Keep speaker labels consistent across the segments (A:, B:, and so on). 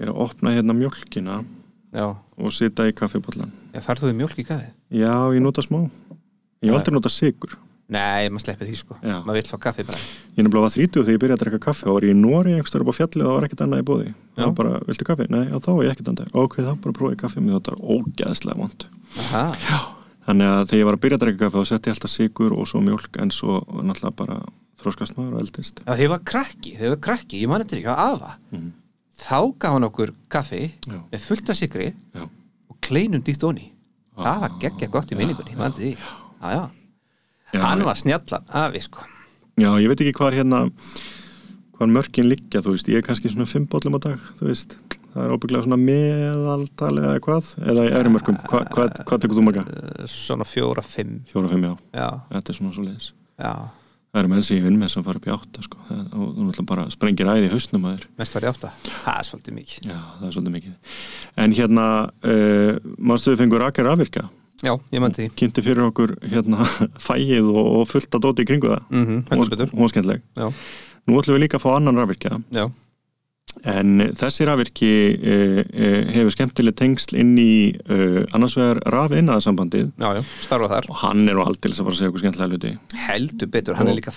A: ég opna hérna mjölkina
B: Já,
A: og sita í kaffibollan
B: ég færðu þið mjólk í kaffið?
A: já, ég nota smá ég hef aldrei nota sigur
B: Nei, maður sleppi því sko
A: Já.
B: Maður vill fá kaffi bara
A: ég er nefnilega var 30 þegar ég byrjaði að drekka kaffi þá var ég í Nóri einhverstaður upp á fjalli og það var ekkert annað í bóði
B: Já.
A: það var bara, viltu kaffi? Nei, já, þá var ég ekkert annað ok, þá bara prófaði ég kaffi mér þetta var ógeðslega vond
B: Aha.
A: þannig að þegar ég var að byrja að drekka kaffi þá setti ég alltaf sigur og svo mjölk en svo náttúrulega bara þróskast maður og eldist
B: Já, þið var krakki, þið var krakki, ég man þetta ekki á afa
A: Mhm.
B: Þá gaf hann okkur kaffi
A: Já.
B: með fullt af sigri
A: já,
B: og kleinum dýtt onni Það var geggja gott í minningunni, ég man þetta því Já, já,
A: Ah. já
B: hann var snjallan afi sko
A: Já, ég veit ekki hvað hérna hvað mörkin liggja, þú veist, ég er kannski svona fimm bollum á dag, þú veist það er óbygglega svona meðaltal eða hvað, eða í öðrum mörkum, hvað, hvað, hvað tekur þú marga?
B: Eh, Svona fjóra, fimm
A: Fjóra, fimm, já,
B: Já,
A: þetta er svona svo leiðis
B: já,
A: það eru menn sem ég vinn með sem fara upp í átta sko. Það- og þú náttúrulega bara sprengir æði í hausnum að þér
B: mest var ég átta Það er svolítið mikið
A: já, það er svolítið mikið en hérna, uh, mannstu við fengur akar afvirka,
B: Já, ég man þetta því
A: kynnti fyrir okkur hérna fæið og, og fullt að dóti í kringu það,
B: mm -hmm,
A: Hún var- hún var skemmtileg
B: Já,
A: nú ætlum við líka að fá annan rafvirkja
B: já,
A: En eh, þessi rafvirki e, e, hefur skemmtileg tengsl inn í e, annars vegar rafinaðasambandið
B: já, já, starfa þar
A: og hann er nú aldrei að fara að segja okkur skemmtilega hluti.
B: Heldur betur, hann er líka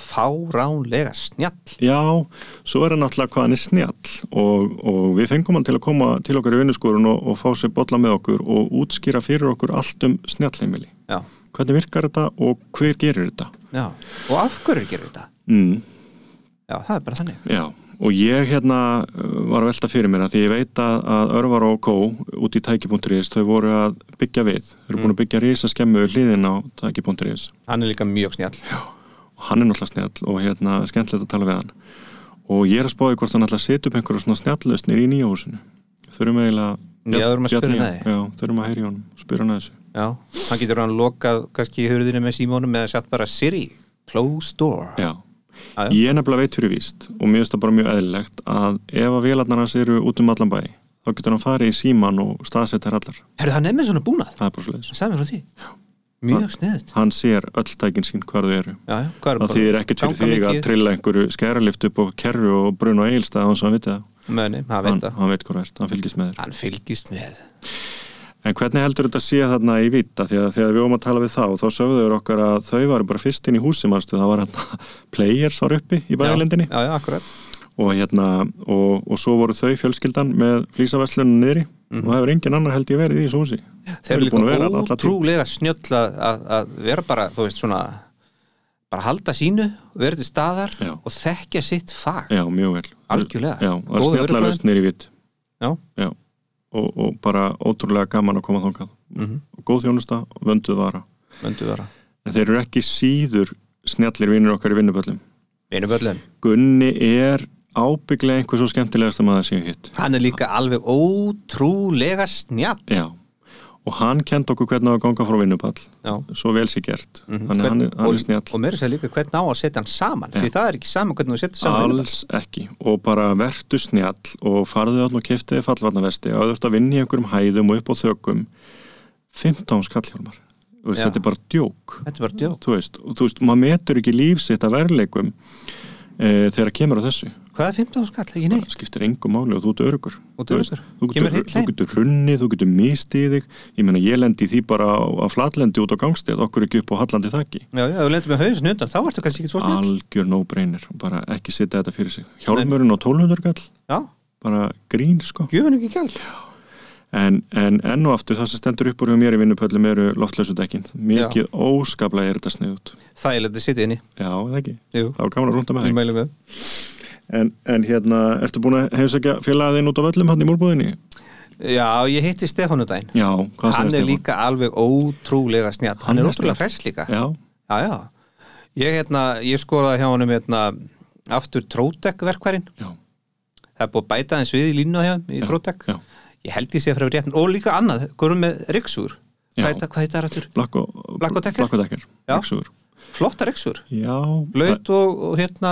B: fáránlega snjall
A: Já, svo er hann náttúrulega hvað hann er snjall og, og við fengum hann til að koma til okkar í vinnuskorun og, og fá sér bolla með okkur og útskýra fyrir okkur allt um snjallheimili.
B: Já,
A: Hvernig virkar þetta og hver gerir þetta?
B: já, og af hverju gerir þetta?
A: Mm,
B: Já, það er bara þannig
A: já, og ég hérna eh, var að velta fyrir mér að því ég veit að, að Örvar og Kó út í tæki.is þau voru að byggja við. Þau
B: Mm.
A: eru búin að byggja risa skemmu hliðin á tæki.is
B: Hann er líka mjög snjall
A: og hann er náttúrulega snjall og hérna skemmtilegt að tala við hann og ég er að spáði hvort hann ætla að setja upp einhverja svona snjallösnir í nýja húsinu þurfum eiginlega
B: Já, þurfum
A: Bjarni-
B: að spyrja hann að því.
A: já, þurfum að heyri honum, spyrja hann að þessu
B: Já, hann getur hann lokað kannski í hurðinu með símónum eða sett bara Siri, close door
A: já.
B: Já, já.
A: ég er nefnilega veit fyrir víst og mér finnst það bara mjög eðlilegt að ef að vélarnar hans eru út um allan bæ þá getur hann farið í síman og staðsett þær allar
B: Herðu, hann er með svona búnað
A: það er bara sliðis
B: Hann sagði mér frá því Mjög sniðut
A: hann sér öll tækin sín hvar þau eru
B: Já, já, hvað er
A: það þýðir ekkert fyrir þig að trilla einhverju skæralift upp á kerru og brun og eilst að hann svo hann veit það
B: Möni, hann
A: hann,
B: veit það
A: hann veit hvað verð, hann fylgist með þér
B: Hann fylgist með
A: En hvernig heldur þetta að sé þarna í vita? Því að þegar við vorum að tala við þá, þá sögðuður okkar að þau varu bara fyrst inn í húsi, mannstu, það var hérna players var uppi í
B: Já,
A: bæðilendinni
B: Já, já, akkurat
A: og hérna, og, og svo voru þau fjölskyldan með flýsaveslunum niðri
B: Mhm.
A: og það hefur engin annar held ég verið í þessu húsi.
B: Þeir eru
A: búin að vera
B: líka
A: þarna alla tíð.
B: ótrúlega snjöll að, að, að vera bara, þú veist, svona bara halda sínu, vera til staðar
A: Já.
B: og þekkja sitt fag
A: Já, mjög vel.
B: Algjörlega.
A: Já, það er
B: Góður
A: snjallarust niðri í vitt.
B: Já,
A: Já, og, og bara ótrúlega gaman að koma þangað.
B: Mhm.
A: Og Góð þjónusta, vönduð vara.
B: möndu vera
A: En þeir eru ekki síður snjallir vinnir okkar í vinnuböllum.
B: Einu börlun
A: Gunni er ábygglega einhver svo skemmtilegasta maður sem ég hef hitt.
B: Hann er líka alveg ótrúlega snjall
A: Já, og hann kent okkur hvernig á að ganga frá vinnupall
B: Já.
A: svo vel sér gert þannig
B: Mhm.
A: hann, er- hann er
B: og,
A: snjall
B: og meira sér líka hvernig á að setja hann saman því það er ekki saman hvernig þú setja saman Al...
A: alls ekki og bara vertu snjall og farðu allan og keftiði fallvarnavesti og þú ert að vinna í einhverjum hæðum og upp á þökum 15 skallhjálmar Þú veist,
B: Já.
A: þetta er bara djók
B: þetta er bara djók
A: þú veist, og þú veist, maður metur ekki líf sitt að verleikum e, þegar kemur á þessu
B: hvað er 15 skall, ekki neitt
A: það skiptir engu máli og þú ert örugur
B: Og þú ert
A: Þú veist,
B: öruggur.
A: þú
B: Kemur
A: getur,
B: heill
A: þú
B: heim.
A: getur hrunni, þú getur mistið þig ég meina ég lendi í því bara á, á flatlendi út á gangstíð, okkur ekki upp á hallandi þakki
B: já, já, þú lendur með hausin undan, þá ertu kannski ekki svo snjall
A: algjör no-brainer, bara ekki setja þetta fyrir sig hjálmurinn á 1200 kall
B: já,
A: bara grín sko
B: gjöfum ekki kjald
A: en, en enn og aftur það sem stendur upp úr hjá mér í vinnupöllum eru loftlösu dekkin mikið óskaplega er þetta sniðut
B: þægilegt að sitja inni,
A: já, eða ekki,
B: jú,
A: það var gaman að rúnda með
B: ég
A: þig
B: mælu með
A: en, en hérna, ertu búin að heimsækja félagin út á völlum hann í múrbúðinni?
B: já, ég hitti Stefánu dæn
A: Já, hvað
B: hann
A: sagði
B: er
A: Stefán?
B: líka alveg ótrúlega snjall hann,
A: Hann
B: er
A: er
B: ótrúlega
A: snjall.
B: hress líka já,
A: Já,
B: já, ég, hérna, ég skoraði hjá honum hérna, aftur Trótek verkværin
A: já,
B: það er búið að bæta aðeins við í línu hjá þeim í Trótek
A: já
B: ég held ég sé frá réttin og líka annað, górum með Riksur
A: Já.
B: hvað heita- hvað heitar þetta?
A: Black og,
B: Black og Decker?
A: Black og Decker
B: Já.
A: Ryksugur.
B: flotta Riksur,
A: Já,
B: blaut og, og hérna,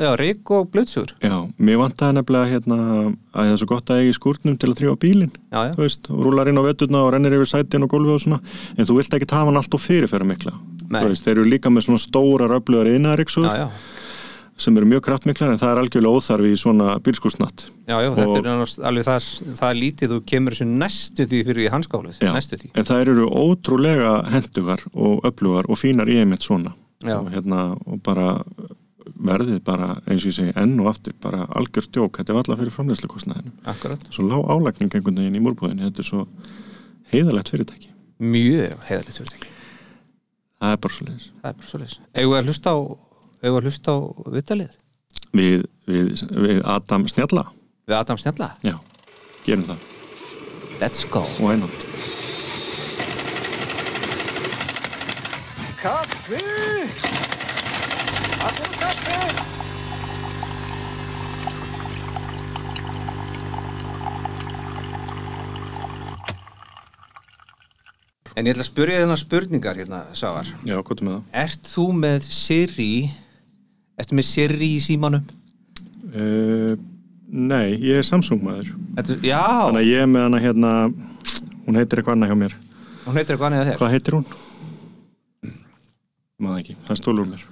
B: já, Rik og blautsur
A: það- Já, mér vantaði nefnilega hérna að það er svo gott að eiga í skúrnum til að þrjá bílinn
B: já, já,
A: Þú veist, og rúlar inn á veturna og rennir yfir sætin og gólfi og svona En þú vilt ekki hafa hann allt og fyrirferða mikla
B: Nei.
A: Þú veist, þeir eru líka með svona stóra röflugar innar
B: já,
A: ríksur
B: já,
A: sem eru mjög kraftmiklar en það er algjörlega óþarfi í svona bílskúsnatt
B: já, já, þetta er nánast alveg það, það er lítið, þú kemur þessu næstu því fyrir í hanskálið,
A: Já.
B: næstu því
A: en það eru ótrúlega hendugar og öflugar og fínar í einmitt svona
B: Já.
A: og hérna og bara verðið bara eins og ég segi enn og aftur bara algjör djók, þetta er alltaf fyrir framleyslukostnaðinu
B: akkurat,
A: svo lág álægning einhvern veginn í múrbúðinu þetta er svo heiðalegt fyrirtæki
B: mjög heiðalegt fyrir þig,
A: það er bara svo leiðis
B: það er bara svo leys eigum við að hlusta á, eigum við að hlusta á vittalið,
A: við, við, við Adam Snjalla
B: við Adam Snjalla
A: já, gerum það
B: let's go
A: og einhvern
C: Kaffi! Allir kaffi!
B: en ég ætla að spyrja þennan spurningar hérna, Sávar
A: já, gott með
B: Ert þú með Siri Ertu með Siri í símanum?
A: það uh, nei, ég er Samsung maður
B: Ertu, já,
A: þannig að ég er með hana hérna hún heitir eitthvað annað hjá mér
B: hún heitir eitthvað annað þegar
A: Hvað heitir hún? Maður ekki, það stólur mér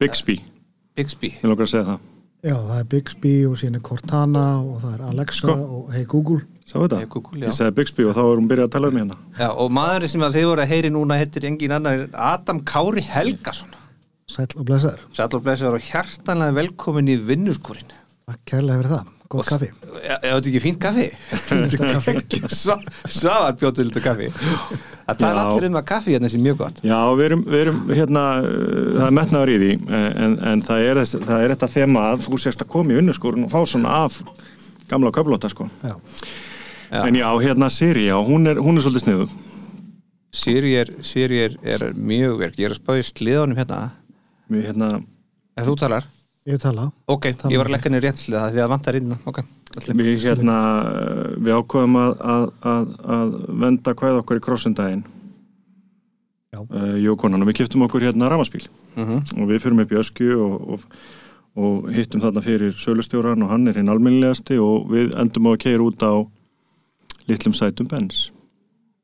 A: Bixby, ég
B: Bixby
A: lókar að segja það
D: Já, það er Bixby og síðan er Cortana og það er Alexa
A: Sko.
D: og Hey Google.
A: Sá þetta?
B: Hey Google, já.
A: ég segði Bixby og þá er hún byrjað að tala um hérna
B: já, Og maðurinn sem að þið voru að heyri núna heitir engin annar en Adam Kári Helgason
D: Sæll og blessaður.
B: Sæll og blessaður og hjartanlega velkomin í vinnuskurinn
D: Takk kærlega fyrir það. Góð kaffi.
B: Já, já, þetta er ekki fínt kaffi
D: kaffi.
B: Sva- Svavar bjóttu lítið kaffi Það
A: Já.
B: tala allir um að kaffi hérna sé mjög gott
A: Já, við erum, við erum hérna uh, það er metnaður í því en, en það, er, þess- það er þetta þema að þú sést að koma í vinnuskorun og fá svona af gamla köflóta sko
D: Já.
B: Já.
A: En já, hérna Siri, já, hún er, hún er svolítið sniðu
B: Siri er, Siri er, er mjög verk Ég er að spáði sliðanum hérna
A: Við hérna,
B: Ef þú talar
D: Ég vil tala.
B: Ok, ég var að leggja niður rétt sliða því að vantar inn Ok, allir
A: við, hérna, uh, við ákveðum að, að, að, að venda hvað okkur í krossundaginn
D: Já.
A: uh, jókonan og við kiptum okkur hérna ramaspíl og við fyrum upp í öskju og, og, og hittum þarna fyrir sölustjóran og hann er hinn almennilegasti og við endum á að keira út á litlum sætum Benz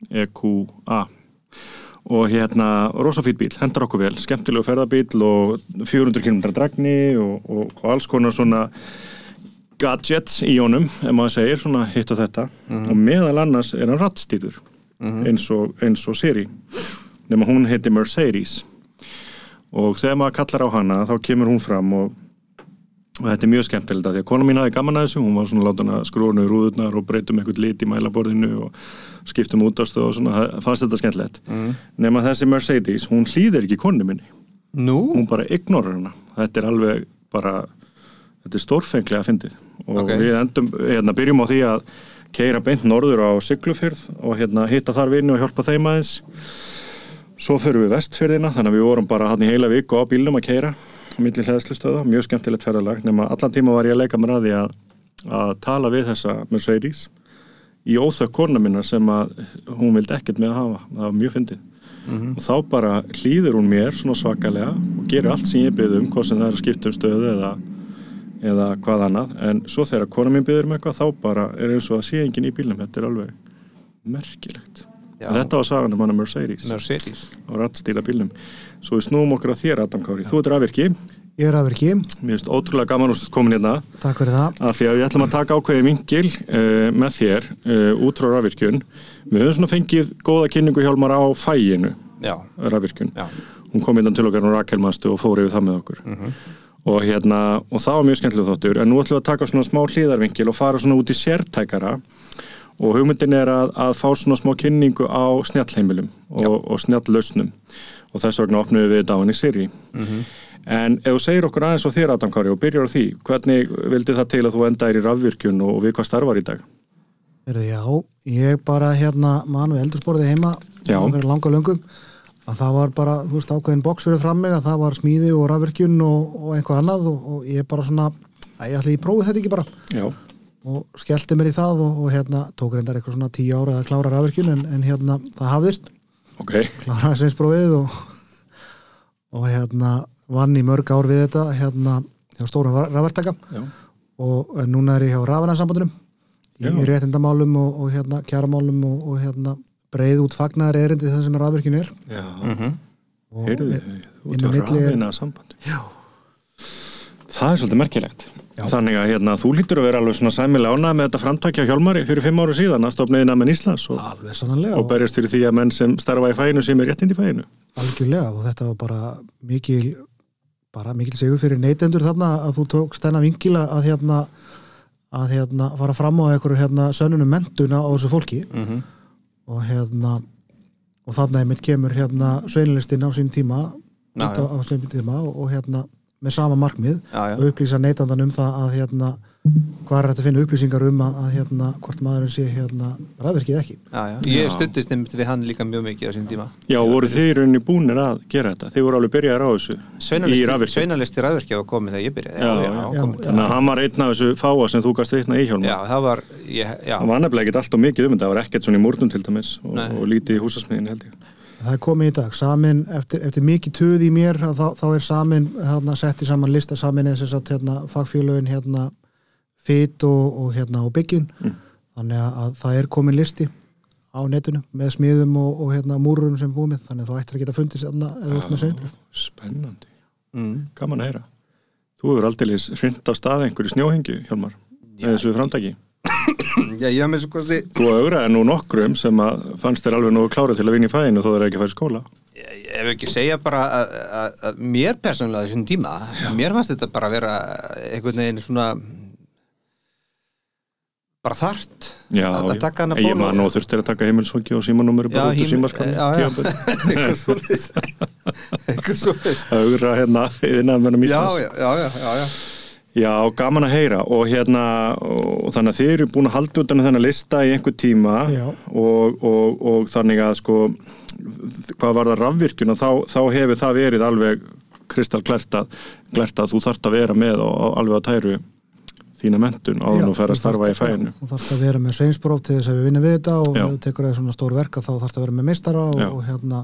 A: EQA og hérna rosafýt bíl, hendar okkur vel skemmtilegu ferðabíl og 400 km dragni og, og, og alls konar svona gadgets í honum, ef maður segir, svona hitt og þetta og meðal annars er hann rattstýtur eins, og, eins og Siri nema hún heiti Mercedes og þegar maður kallar á hana þá kemur hún fram og, og þetta er mjög skemmtilegt að því að kona mín hafi gaman að þessu, hún var svona látan að skrúinu í rúðurnar og breytum eitthvað lit í mælaborðinu og skiptum útastu og svona það- fannst þetta skemmtilegt nema þessi Mercedes, hún hlýðir ekki konu minni
B: Nú?
A: hún bara ignorar hana þetta er alveg bara þetta er stórfenglega fyndið og
B: Ok.
A: við endum, hérna byrjum á því að keira beint norður á Siglufjörð og hérna hitta þar vinni og hjálpa þeim aðeins svo förum við vestfjörðina þannig að við vorum bara hann í heila viku á bílnum að keira milli hlæðslustöða, mjög skemmtilegt ferðalag nema allan tíma var ég að leika mér að því að að tala við þessa Mercedes í óþökk kona minna sem að hún vildi ekkert með að hafa það var mjög fyndið og þá bara hlýður hún mér svona svakalega og gerir allt sem ég byrði um hvað sem það er að skipta um stöðu eða, eða hvað annað en svo þegar kona mín byrður um eitthvað þá bara er eins og að sé enginn í bílnum þetta er alveg merkilegt
B: Já.
A: En þetta var sagan um hana Mercedes
B: Mercedes
A: og rattstýla bílnum svo við snúum okkur að þér Adam Kári þú ert rafvirki,
D: Ég er afirki.
A: mér finnst ótrúlega gaman að komin hérna
D: Takk fyrir það.
A: af því að við ætlum að taka ákveðið vingil uh, með þér uh, út frá rafvirkjun við höfum svona fengið góða kynningu hjálmar á fæginu
B: Já,
A: rafvirkjun
B: já,
A: hún kom innan til okkar og rakelmastu og fór yfir það með okkur og hérna, og það var mjög skemmtilega þáttur en nú ætlum við að taka svona smá hlýðarvingil og fara svona út í sértækara og hugmyndin er að, að fá svona smá kynningu á snjallheimilum og, og snjalllausnum og þess vegna opnum við þetta á henni Siri en ef þú segir okkur aðeins á þér Adam Kári og byrjar á því, hvernig vildi það til að þú endaðir í rafvirkjun og, og við hvað starfar í dag?
D: Erðu, já, ég bara hérna mann við eldursborði heima
A: Já.
D: fyrir langa löngum að það var bara, þú veist, ákveðin box fyrir fram mig að það var smíði og rafvirkjun og, og eitthvað annað og, og ég bara svona að ég ætli ég prófi þetta ekki bara
A: Já,
D: og skellti mér í það og, og hérna tók reyndar eitthvað svona tíu ára að klára rafvirkjun en, en hérna það hafðist
A: ok,
D: kláraði aðeins prófið og, og hérna vann í mörg ár við þetta hérna hjá stórum rafvertaka
A: Já.
D: og en núna er ég hjá rafanarsambandunum í
A: Já.
D: réttindamálum og, og hérna kjaramálum og, og hérna breið út fagnar erindi það sem rafvirkjun er
A: já,
D: og
A: heyrðu þið,
D: er-
A: út á
D: inn á milli er-
A: rafina sambandi Já það er svolítið merkilegt
D: Já.
A: þannig að hérna, þú lítur að vera alveg svona sæmilega ánað með þetta framtakja hjálmari fyrir fimm ára síðan að stopna innan menn Íslands og,
D: alveg sannanlega
A: og
D: og
A: berjast fyrir því að menn sem starfa í fæinu sem er réttind í fæinu
D: algjörlega og þetta var bara mikil bara mikil sigur fyrir neytendur þarna að þú tókst þennan vingila að hérna að hérna fara fram á einhverju hérna sönnunum mentuna á þessu fólki
B: Mhm.
D: og hérna og þarna einmitt kemur hérna sveinlistin á sín tíma,
B: Já,
D: út á, á sín tíma og, og hérna með sama markmið
B: Já, já.
D: og upplýsa neytandan um það að hérna hvað er þetta að finna upplýsingar um að, að hérna hvort maðurinn sé hérna ræðverkið ekki
B: Já, já. Ég
A: Já.
B: stuttist nefnt við hann líka mjög mikið á sín tíma.
A: Já, voru þið í rauninni búnir að gera þetta? Þið voru alveg byrjaðar á þessu í
B: Sveinalisti,
A: rafvirkjum.
B: sveinalisti rafverkja var komið þegar ég byrjaði.
A: Já,
B: já,
A: já.
B: já, komið.
A: Þannig að hann var einn af þessu fáa sem þú gast vitna í hjálmar.
B: já það var, ég, já,
A: Það var nefnilega ekkert alltaf mikið um þetta, það var ekkert svona í múrnum til dæmis og,
B: Nei.
A: og lítið í húsasmiðinu held ég.
D: Það er komið í dag, samin, eftir, eftir mikið töð í mér, að þá, þá er samin hérna, setti saman lista, samin eða sem sagt hérna, fagfélögin hérna fit og, og hérna og byggin
A: Mm.
D: þannig að, að það er komin listi á netinu með smiðum og, og hérna múrurum sem er búið með, þannig að þú ættir að geta fundið hérna eða út með sveinbrif.
A: Spennandi.
B: mm,
A: Gaman að heyra. Þú hefur aldeilis hrind á stað einhverju snjóhengju, Hjálmar, með þessu framdagi.
B: já, ég var með svo kosti,
A: Þú augraði nú nokkrum sem að fannst þér alveg nógu klára til að vinna í fæinu þó þeir ekki að fara í skóla.
B: ef ekki segja bara að, að, að mér persónulega þessum tíma, mér fannst þetta bara að vera einhvern veginn svona bara þart
A: Já,
B: að, að
A: já.
B: taka hana
A: Ég maður nú þurftir að taka heimilsfóki og símanúmeri bara út úr símaskráni. tímabundið.
B: eitthvað svoleiðis eitthvað svoleiðis
A: Augra hérna innan mennum
B: já,
A: Íslands.
B: já, já, já, já, já.
A: Já, gaman að heyra og hérna og þannig að þið eru búin að halda utan að þennan lista í einhver tíma
D: Já.
A: og, og, og þannig að sko hvað var það rafvirkjuna þá, þá hefur það verið alveg kristallklert að, klert að þú þart að vera með og, og alveg að tæru þína mentun á
D: Já,
A: hann og fer
D: þú
A: að starfa
D: þarft
A: í fæinu
D: Þú þarfst að vera með sveinspróf til þess að við vinnum við þetta og
A: Já.
D: ef þú tekur eða svona stór verka þá þarfst að vera með meistara og,
A: Já.
D: og, hérna,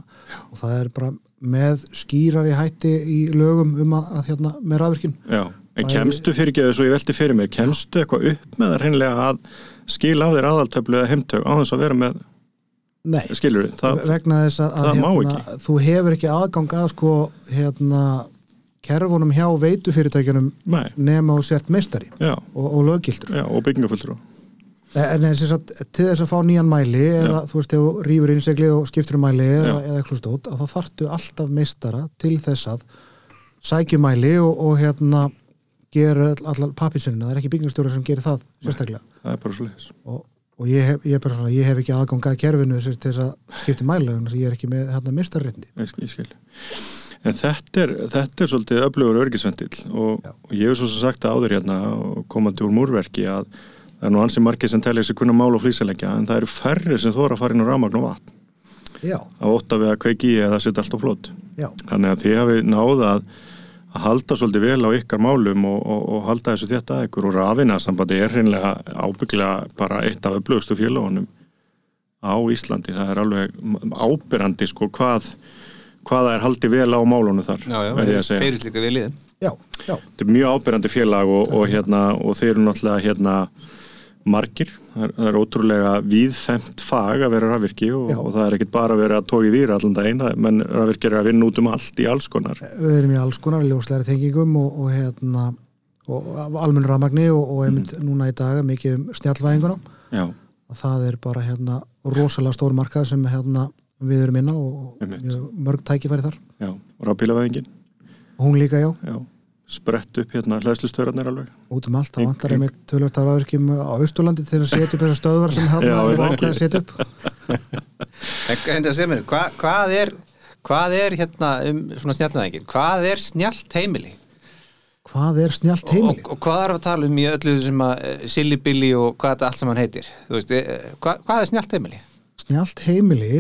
D: og það er bara með skýrari hætti í lögum um að, að hérna, með rafvirkjum
A: Já, en kemstu fyrir ekki þessu ég velti fyrir mig, kemstu eitthvað upp með það hreinlega að skila á þér aðaltöflu eða heimtök á þess að vera með
D: Nei, sko,
A: skilur það,
D: vegna þess að, að
A: það má
D: þú hefur ekki aðgang að sko hérna, kerfunum hjá veitufyrirtækjunum
A: nei,
D: nema þú sért meistari
A: já,
D: og, og löggildur
A: já og byggingafulltrú
D: En en sem sagt, til þess að fá nýjan mæli eða þú veist, ef þú rýfur innseglið og skiptur um mæli eða,
A: Já.
D: eða eitthvað stótt, að þá þartu alltaf meistara til þess að sækja um mæli og, og hérna gera all- allar pappisunina, það er ekki byggingastjóra sem gerir það sérstaklega
A: það er bara svo leiðis
D: og, og ég, hef, ég, persónulega, ég hef ekki aðgang að kerfinu sem, til þess að skipta mæli vegna þess að ég er ekki með hérna meistarreitni
A: Ég skil, ég skil. En þetta er, þetta er svolítið öflugur örgisvendill og,
D: Já.
A: og ég hef svo sem sagt það áður hérna og komandi úr múrverki að það er nú ansi margir sem telja sig kunna mála og flýsalegja en það eru færri sem þóra að fara inn á rámagn og vatn
D: Já,
A: að ótta við að kveiki í eða setja allt á flott.
D: já,
A: Þannig að þið hafi náða að, að halda svolítið vel á ykkar málum og, og, og halda þessu þetta að ykkur og rafina sambandi er hreinlega ábygglega bara eitt af öflugustu félagunum á Íslandi. Það er alveg ábyrrandi sko hvað hvaða er haldið vel á málunum þar
B: Já, já,
A: verð ég að segja.
B: heyrist líka vel í þeim
D: já, já
A: Þetta er mjög ábyrrandi félag og, og, hérna, og þeir eru náttúrulega hérna, margir, það er, það er ótrúlega víðfemt fag að vera rafvirki og,
D: Já.
A: og það er ekkit bara að vera að tóki víra allan daginn, það- menn rafvirkir er að vinna út um allt í alls konar
D: við erum í alls konar ljóslegar tengingum og, og hérna og almenn rafmagni og, og einmitt núna í dag er mikið um snjallvæðinguna
A: Já,
D: og það er bara hérna rosalega stór markað sem hérna við erum inn á og
A: Einmitt.
D: mjög mörg tækifæri þar
A: já, rafbílavæðingin
D: og hún líka já,
A: já, sprett upp hérna hlæðslustörarnir alveg
D: út um allt, það
A: Ég-
D: vantar
A: ég-
D: einmitt tölvöld af rafvirkjum á Austurlandi til að setja upp þessar stöðvar sem
A: Já,
D: þarna
A: er
D: er
A: það
D: ákveð að setja upp
B: En, en það segir mér, hva, hvað er hvað er hérna um svona snjallnæðingir hvað er snjallt heimili,
D: hvað er snjallt heimili?
B: Og, og hvað er að tala um í öllu sem að eh, silly billy og hvað þetta allt sem hann heitir þú veist, eh, hva, hvað er snjallt heimili
D: Snjallt heimili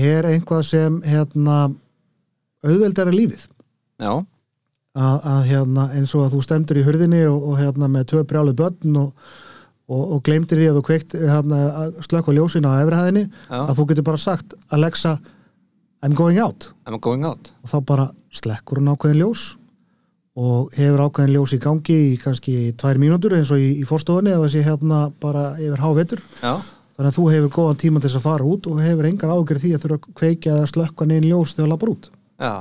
D: er einhvað sem hérna auðveldar er lífið
B: já,
D: að, að hérna, eins og að þú stendur í hurðinni og, og hérna með tvö brjálu börn og, og, og gleymdir því að þú kveikt hérna, slökk og ljósin á efrihæðinni
B: Já.
D: að þú getur bara sagt Alexa, I'm going out
B: I'm going out
D: og þá bara slekkur hún ákveðin ljós og hefur ákveðin ljós í gangi í kannski tvær mínútur eins og í, í forstofunni og þessi hérna bara yfir hávetur
B: já,
D: þannig að þú hefur góðan tíma til þess að fara út og hefur engar ágjörð því að þurfa að kveikja eða slökka neginn ljós þegar þú lappar út
B: já,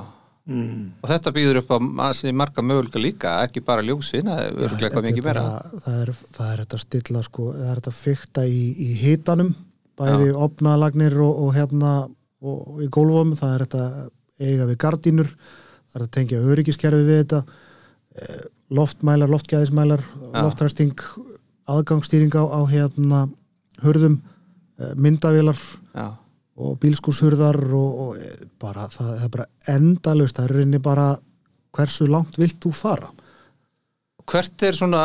A: mm.
B: og þetta býður upp á ansi marga möguleika líka, ekki bara ljósin það er
D: Já,
B: örglega
D: þetta
B: eitthvað mikið
D: er
B: meira
D: bara- það er, það er þetta að stilla sko, það er þetta að fykta í, í hitanum bæði opnaðalagnir og, og hérna og, og í gólfum, það er þetta að eiga við gardínur, það er þetta að tengja öryggiskerfi við þetta eh, loftmælar, loftgæðismælar
B: Já.
D: loftræsting, aðgangstýring á, á hérna hurðum eh, myndavélar
B: já,
D: og bílskúshurðar og, og eh, bara, það, það er bara endalaust, það er í rauninni bara hversu langt vilt þú fara
B: hvert er svona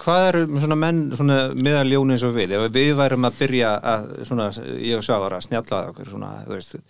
B: hvað eru svona menn svona miðaljóni eins og við, ef við værum að byrja að svona, ég og Svavar að snjalla að okkur svona, þú veist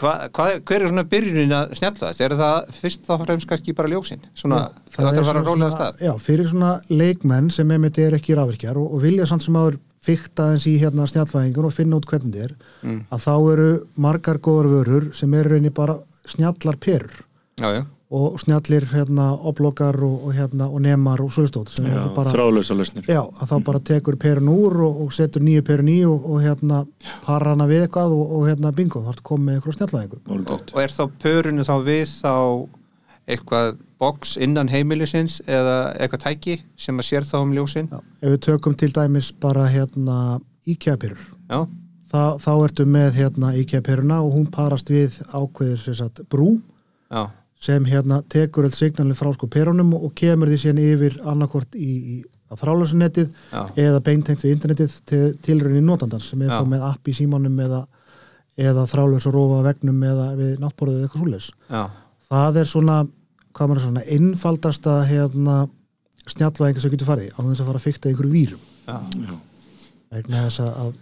B: hva, hvað, hver er svona byrjunin að snjalla þess, er það fyrst þá fremst kannski bara ljósin, svona,
D: Já,
B: það ætti að fara
D: svona-
B: að rólega
D: svona-
B: stað
D: Já, fyrir svona leikmenn sem einmitt er ekki rafvirkjar og, og vilja samt sem áður fykta eins í hérna snjallvæðingun og finna út hvernig þetta er
B: Mm.
D: að þá eru margar góðar vörur sem eru rauninni bara snjallar perur
B: já, já,
D: og snjallir hérna oblokar og, og hérna og nemar og svoðstótt sem
A: Já,
D: eru bara
A: þráðlösa lausnir
D: Já, að þá bara tekur perun úr og, og setur nýju perun í og, og hérna parar hana við eitthvað og, og hérna bingo, þá ertu komið með eitthvað snjallvæðingu.
A: Alright.
B: og er þá pörinu þá við þá eitthvað box innan heimilisins eða eitthvað tæki sem að sér þá um ljósin
D: Já, ef við tökum til dæmis bara hérna íkjæðperur.
B: já,
D: Þa, þá ertu með hérna IKEA-peruna og hún parast við ákveður sem sagt brú
B: já,
D: sem hérna tekur öll signalin frá sko perunum og kemur því síðan yfir annarkort í, í á frálausunettið
B: já,
D: eða beintengt við internetið til, tilraunin notandans sem er
B: Já.
D: þá með app í símanum eða, eða þrálaus og rofa á vegnum eða við náttborðið eða eitthvað svoleiðis.
B: já,
D: Það er svona, hvað maður er svona, einfaldasta hérna snjallvæðingar sem getur farið í, á þess að fara að fykta einhverju vírum
B: já.
A: Já.
D: vegna þess að, að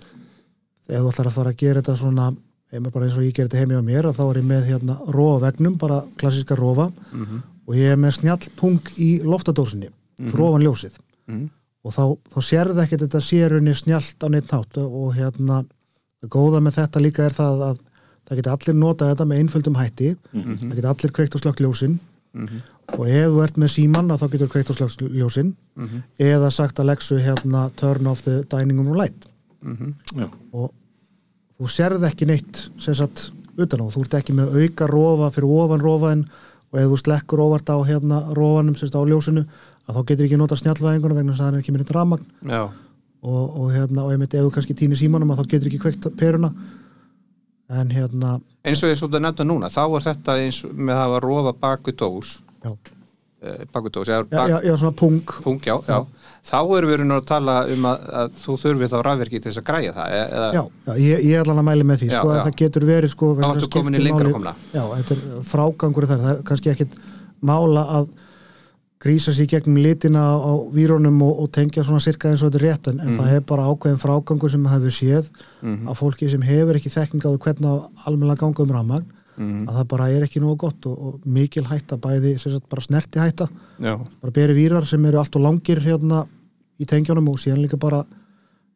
D: ef þú ætlar að fara að gera þetta svona ef maður bara eins og ég gerir þetta heimi á mér að þá er ég með hérna rofa vegnum, bara klassíska rofa
B: mhm,
D: og ég er með snjallpung í loftadósinni
B: Mhm.
D: fyrir ofan ljósið
B: mhm,
D: og þá, þá sérðu ekkert þetta sérunni snjallt á neitt nátt og hérna það góða með þetta líka er það að það geta allir notað þetta með einföldum hætti það geta allir kveikt og slögt ljósin
B: mhm,
D: og ef þú ert með símann að þá getur þú kveikt og slögt ljósin
B: mhm,
D: eða sagt að legsu hérna turn off the dining room light
B: mhm.
A: Já.
D: og þú sérð ekki neitt sem sagt utan á, þú ert ekki með auka rofa fyrir ofan rofaðin og ef þú slekkur óvart á hérna rofanum sem sagt á ljósinu að þá getur ekki nota snjallvæðinguna vegna þess að hann er ekki með neitt rafmagn
B: já,
D: og, og hérna, og einmitt ef þú kannski týnir símanum að þá getur ekki kveikt peruna en hérna,
B: eins og ég svolítið að nefna núna þá er þetta eins og með það að rofa baku dós
D: já,
B: eh, baku dós, eða
D: já,
B: bak,
D: já, já svona pung
B: pung, já, já þá erum við raunar að tala um að, að þú þurfir þá rafverki til þess að græja það e- eða,
D: Já, já, ég, ég ætla að mæli með því
B: Já,
D: sko, að
B: já.
D: það getur verið sko, vegna
B: Þá ertu
D: þess skiptir
B: komin í lengra
D: máli-
B: komna.
D: Já, þetta er frágangur þar, það er kannski ekkit mála að grísa sér í gegnum litina á, á vírunum og, og tengja svona sirka eins og þetta er rétt en, en
B: Mhm.
D: það er bara ákveðin frágangur sem hefur séð að fólki sem hefur ekki þekking á því hvernig á almennilega ganga um rafmagn
B: Mhm.
D: að það bara er ekki nógu gott og, og mikil hætta bæði, sem sagt bara snerti hætta
B: já,
D: bara beri vírar sem eru allt og langir hérna í tengjónum og síðan líka bara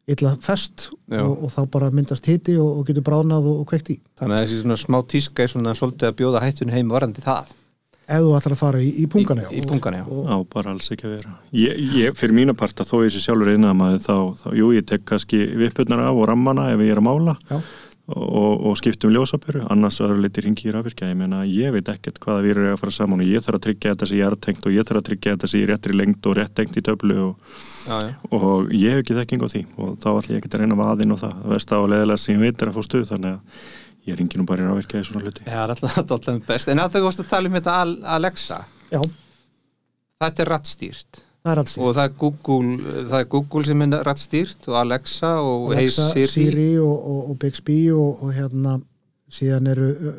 D: illa fest
B: Já.
D: og, og þá bara myndast hiti og, og getur bráðnað og, og kveikt í.
B: þannig að þessi svona smá tíska er svona svolítið að bjóða hættun heim varandi það
D: Ef þú ætlar að fara í, í pungana,
B: í, í pungana, já,
A: Já, bara alls ekki að vera. Ég, ég, fyrir mína parta, þó ég sé sjálfur einað maður, þá, þá, jú, ég tek kannski vippurnar af og rammana ef ég er að mála
D: Já.
A: og, og skiptum ljósapöru, annars aðra liti ringi í rafvirkja. Ég meina, ég veit ekkert hvaða vírur er að fara saman og ég þarf að tryggja þetta sem ég er tengt og ég þarf að tryggja þetta sem ég er réttri lengt og rétt tengt í töflu og,
B: já, já.
A: og ég hef ekki þekking á því og þá ætlum ég ekki að reyna vaðin og það. Það veist að á leðilega sem ég veit er að fá stuð, þannig að ég ringi nú bara í rafvirkja í svona hluti.
B: Já, það er alltaf, alltaf best. En að þau góðst að tala um þetta Al- Alexa,
D: já,
B: þetta er rattstýrt
D: það er alls
B: og það er Google, það er Google sem er rattstýrt og Alexa og
D: Alexa,
B: Hey Siri.
D: Siri og, og, og Bixby og, og hérna síðan eru ö,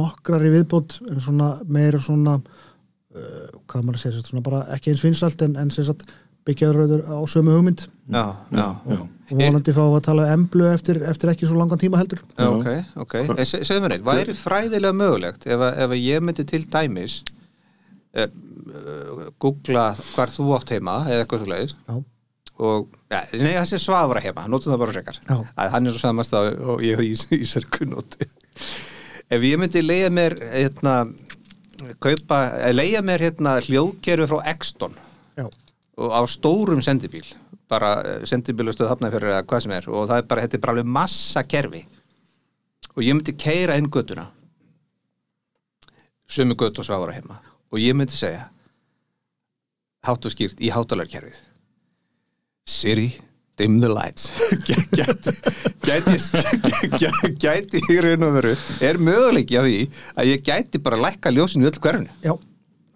D: nokkrar í viðbútt en svona meira svona uh, hvað maður að segja, svona bara ekki eins vinsalt en, en sem sagt byggjaður á sömu hugmynd
B: Já, já.
A: Já.
D: og vonandi fá að tala um emblu eftir, eftir ekki svo langan tíma heldur
B: Já, ok, ok. En se- segðu mér eitt, hvað er fræðilega mögulegt ef, að- ef að ég myndi til dæmis eh, eh, googla hvar þú átt heima eða eitthvað svo leiðis
D: Já,
B: og, ja, nei, þessi svafra heima, notum það bara frekar
D: Já.
B: að hann er svo samast að, og ég í, í sérkunóti ef ég myndi leiða mér hérna, kaupa, eh, leiða mér hérna, hljóðkerfi frá Exton
D: já,
B: og á stórum sendibíl bara eh, sendibílastöð hafnafjörður eða hvað sem er og það er bara, þetta er bara alveg massa kerfi og ég myndi keira inn göttuna sömu gött og svagur að heima og ég myndi segja hátt og skýrt í hátalarkerfið Siri, dim the lights gæti gæti, gæti, gæti í raun og veru er möguleiki að því að ég gæti bara lækka ljósinu í öll hverfinu
D: Já,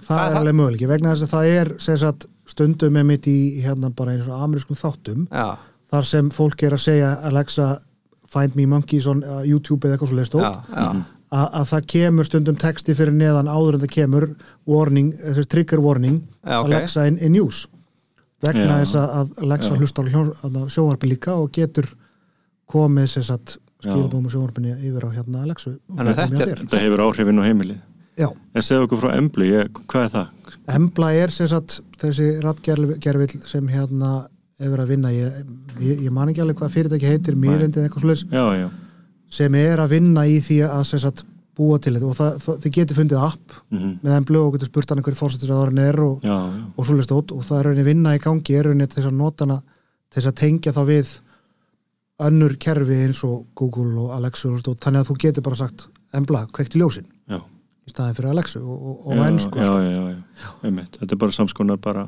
D: það
B: Það-
D: er alveg möguleiki vegna þess að það er sem sagt, stundum með mitt í hérna bara eins og amerískum þáttum
B: já,
D: þar sem fólk er að segja Alexa find me monkeys on uh, YouTube eða eitthvað svo
B: já,
D: leist
B: já,
D: að að það kemur stundum texti fyrir neðan áður en það kemur warning, þessi trigger warning
B: Já, ok.
D: Alexa in, in news vegna
A: Já.
D: þess að- að Alexa hlustar á hljó- þarna sjónvarpi líka og getur komið sér satt skilbúum sjónvarpinni yfir á hérna Alexu
B: Þannig að þetta er-
A: Þetta hefur áhrifin á heimilið.
D: Já,
A: En segðu okkur frá Emblu, ég, hvað er það?
D: Embla er sem sagt þessi rattgerfill sem hérna hefur að vinna, ég, ég, ég man ekki alveg hvað fyrirtæki heitir, miðindi eða eitthvað svoleiðis
A: Já, já,
D: sem er að vinna í því að sem sagt, búa til þetta og það, það, þið getur fundið app
A: Mhm.
D: með þeim blöð og getur spurt hann einhverju fórsættisraðurinn er og,
A: já, já.
D: og svoleiðist út og það er rauninni vinna í gangi er rauninni til þess að nota hana til þess að tengja þá við önnur kerfi eins og Google og Alexa og stótt, þannig að þú getur bara sagt embla, kveikti ljósin
A: já.
D: í staðin fyrir Alexa og, og, og
A: já,
D: enn sko
A: já, já, já, já. Einmitt. Þetta er bara samskonar bara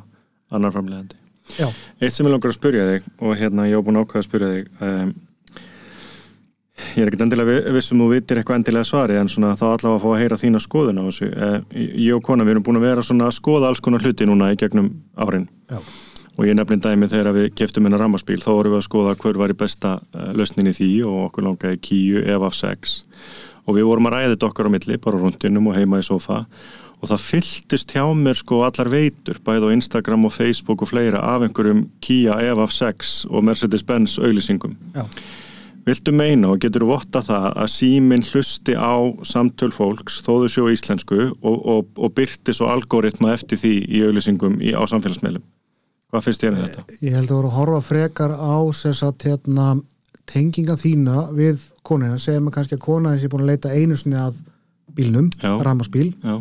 A: annar framlegandi.
D: Já.
A: Eitt sem ég langar að spyrja þig og hérna ég á búin að ákveða að spyrja þig um, ég er ekkert endilega vi- viss um þú vitir eitthvað endilega svari en svona þá allavega að fá að heyra þína skoðun á þessu Eh, ég og kona við erum búin að vera svona að skoða alls konar hluti núna í gegnum árin
D: Já.
A: og ég nefnir dæmi þegar við keftum hennar rammarspíl þá vorum við að skoða hver var í besta eh, lausnin í því og okkur langaði kíu ef af sex og við vorum að ræða þetta okkar á milli bara á rundinum og heima í sofa og það fylltist hjá mér sko allar veitur bæði á Instagram og Facebook og fleira af einhverjum kíja ef af sex og Mercedes-Benz auglýsingum
D: Já.
A: Viltu meina og getur votta það að síminn hlusti á samtöl fólks þóðu sjó íslensku og, og, og byrti svo algoritma eftir því í auglýsingum í, á samfélagsmeilum? Hvað finnst þér um þetta?
D: Ég held að voru að horfa frekar á sem sagt, hérna, tenginga þína við konina, segjum að kannski að kona þessi er búin að leita einu sinni að bílnum,
A: Já.
D: rammaspíl
A: Já,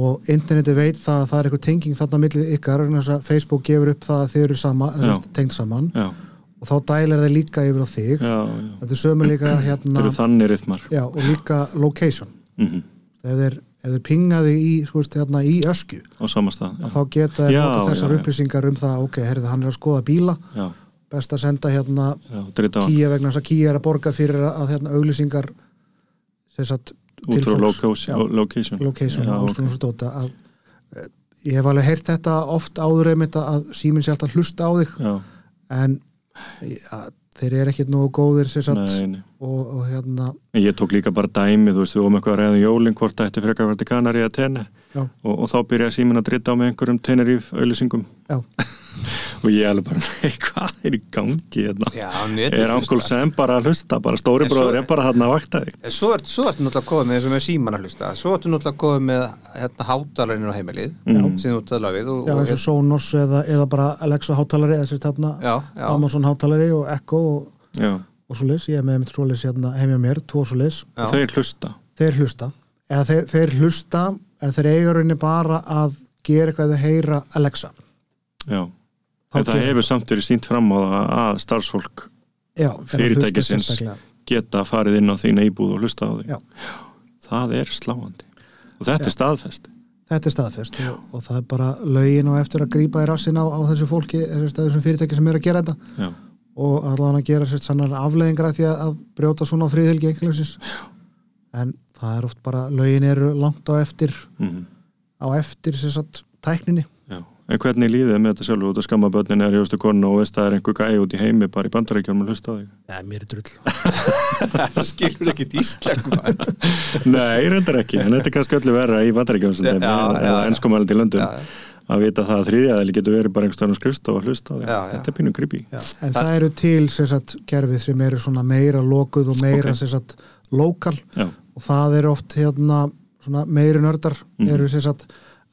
D: og interneti veit það að það er eitthvað tenging þarna millið ykkar, vegna þess að Facebook gefur upp það að þið eru sama, þið
A: Já.
D: eru tengd saman
A: já,
D: og þá dælar það líka yfir á þig
A: já, já.
D: þetta er sömu líka
A: Þetta
D: hérna
A: eru þannig rithmar.
D: já, og líka location
A: Mm
D: ef þeir, ef þeir pingaði í, þú veist, hérna, í ösku
A: Á sama stað. Já,
D: þá geta þeir
A: Já,
D: nota þessar
A: já, já.
D: upplýsingar um það ok, herðið, hann er að skoða bíla
A: já,
D: best að senda hérna
A: já drita á.
D: Kíja vegna þess að Kíja er að borga fyrir að að, hérna auglýsingar sem sagt,
A: Út frá
D: fólks.
A: location.
D: Já,
A: lo- location.
D: location
A: Já,
D: og alls
A: ok.
D: konar svo dóta að, eh, ég hef alveg heyrt þetta oft áður einmitt að- að síminn sé alltaf hlusta á þig
A: Já,
D: en ja, þeir eru ekkit nógu góðir sem sagt
A: nei, nei.
D: og, og hérna
A: En Ég tók líka bara dæmi, þú veist, við vorum eitthvað að ræða um jólinn hvort það ætti frekar að verða kanari að tenni
D: já,
A: og, og þá byrjaði síminn að drita á með einhverjum Teneríf auðlýsingum
D: já,
A: og ég alveg bara, nei, hvað er í gangi hérna?
B: já netið
A: Er
B: hlustar.
A: Angul Sam bara að hlusta, bara stóri
B: En svo-
A: bróður er bara hann að vakta þig?
B: En Svo ertu svo ertu náttúrulega komið með eins og með síman að hlusta Svo ertu náttúrulega komið með hérna, hátalarinn á heimilið sem þú talaði við og,
D: Mhm.
B: hérna,
D: já eins og
A: hérna-
D: Sonos eða, eða bara Alexa hátalari eða sér þarna
B: já, já,
D: Amazon hátalari og Echo og,
A: Já,
D: og svo ég er með einmitt svo hérna heimja mér, tvo svo
B: já.
A: þau er hlusta.
D: þeir hlusta eða þeir, þeir hlusta en þeir eiga rauninni bara að gera eitthvað að heyra Alexa
A: Já.
D: Þá
A: En það
D: gerir-
A: hefur samt verið sínt fram á það að starfsfólk
D: já, þeir hlusta
A: Fyrirtækisins.
D: sérstaklega.
A: geta farið inn á þína íbúð og hlusta á þig.
D: Já.
A: Það er sláandi. Og þetta er staðfest.
D: þetta er staðfest og, og það er bara lögin og eftir að grípa í rassin á, á þessu fólki þessu, þessum fyrirtæki sem er að gera þetta
A: Já.
D: og allan að gera sér sannar afleðingra því að, að brjóta svona á friðhelgi einhverjumsins en það er oft bara lögin eru langt á eftir
A: Mm.
D: á eftir sér satt tækninni
A: Já. En hvernig líðið með þetta sjálf út að skamma börnin er jóstu konu og veist að það er einhver gæi út í heimi bara í bandarækjum og hlusta á þig?
D: Já, mér er drull
B: það skilur ekki íslensku maður.
A: Nei, reyndar ekki, en þetta er kannski öllu verra í bandarækjum sem
B: Já,
A: dæmi,
B: já,
A: eða
B: já.
A: enskumælandi í löndum
B: Já, já.
A: að vita það að þriðjaðali getur verið bara einhverstaðan skrifst og hlusta á þig.
B: Já, já.
A: Þetta er pínum creepy.
D: Já, en það eru til sem sagt, gerfið sem eru svona meira lokuð og meira
A: Ok.
D: sem sagt, lokal
A: Já,
D: og það eru oft hérna, svona, meiri nördar eru sem sagt,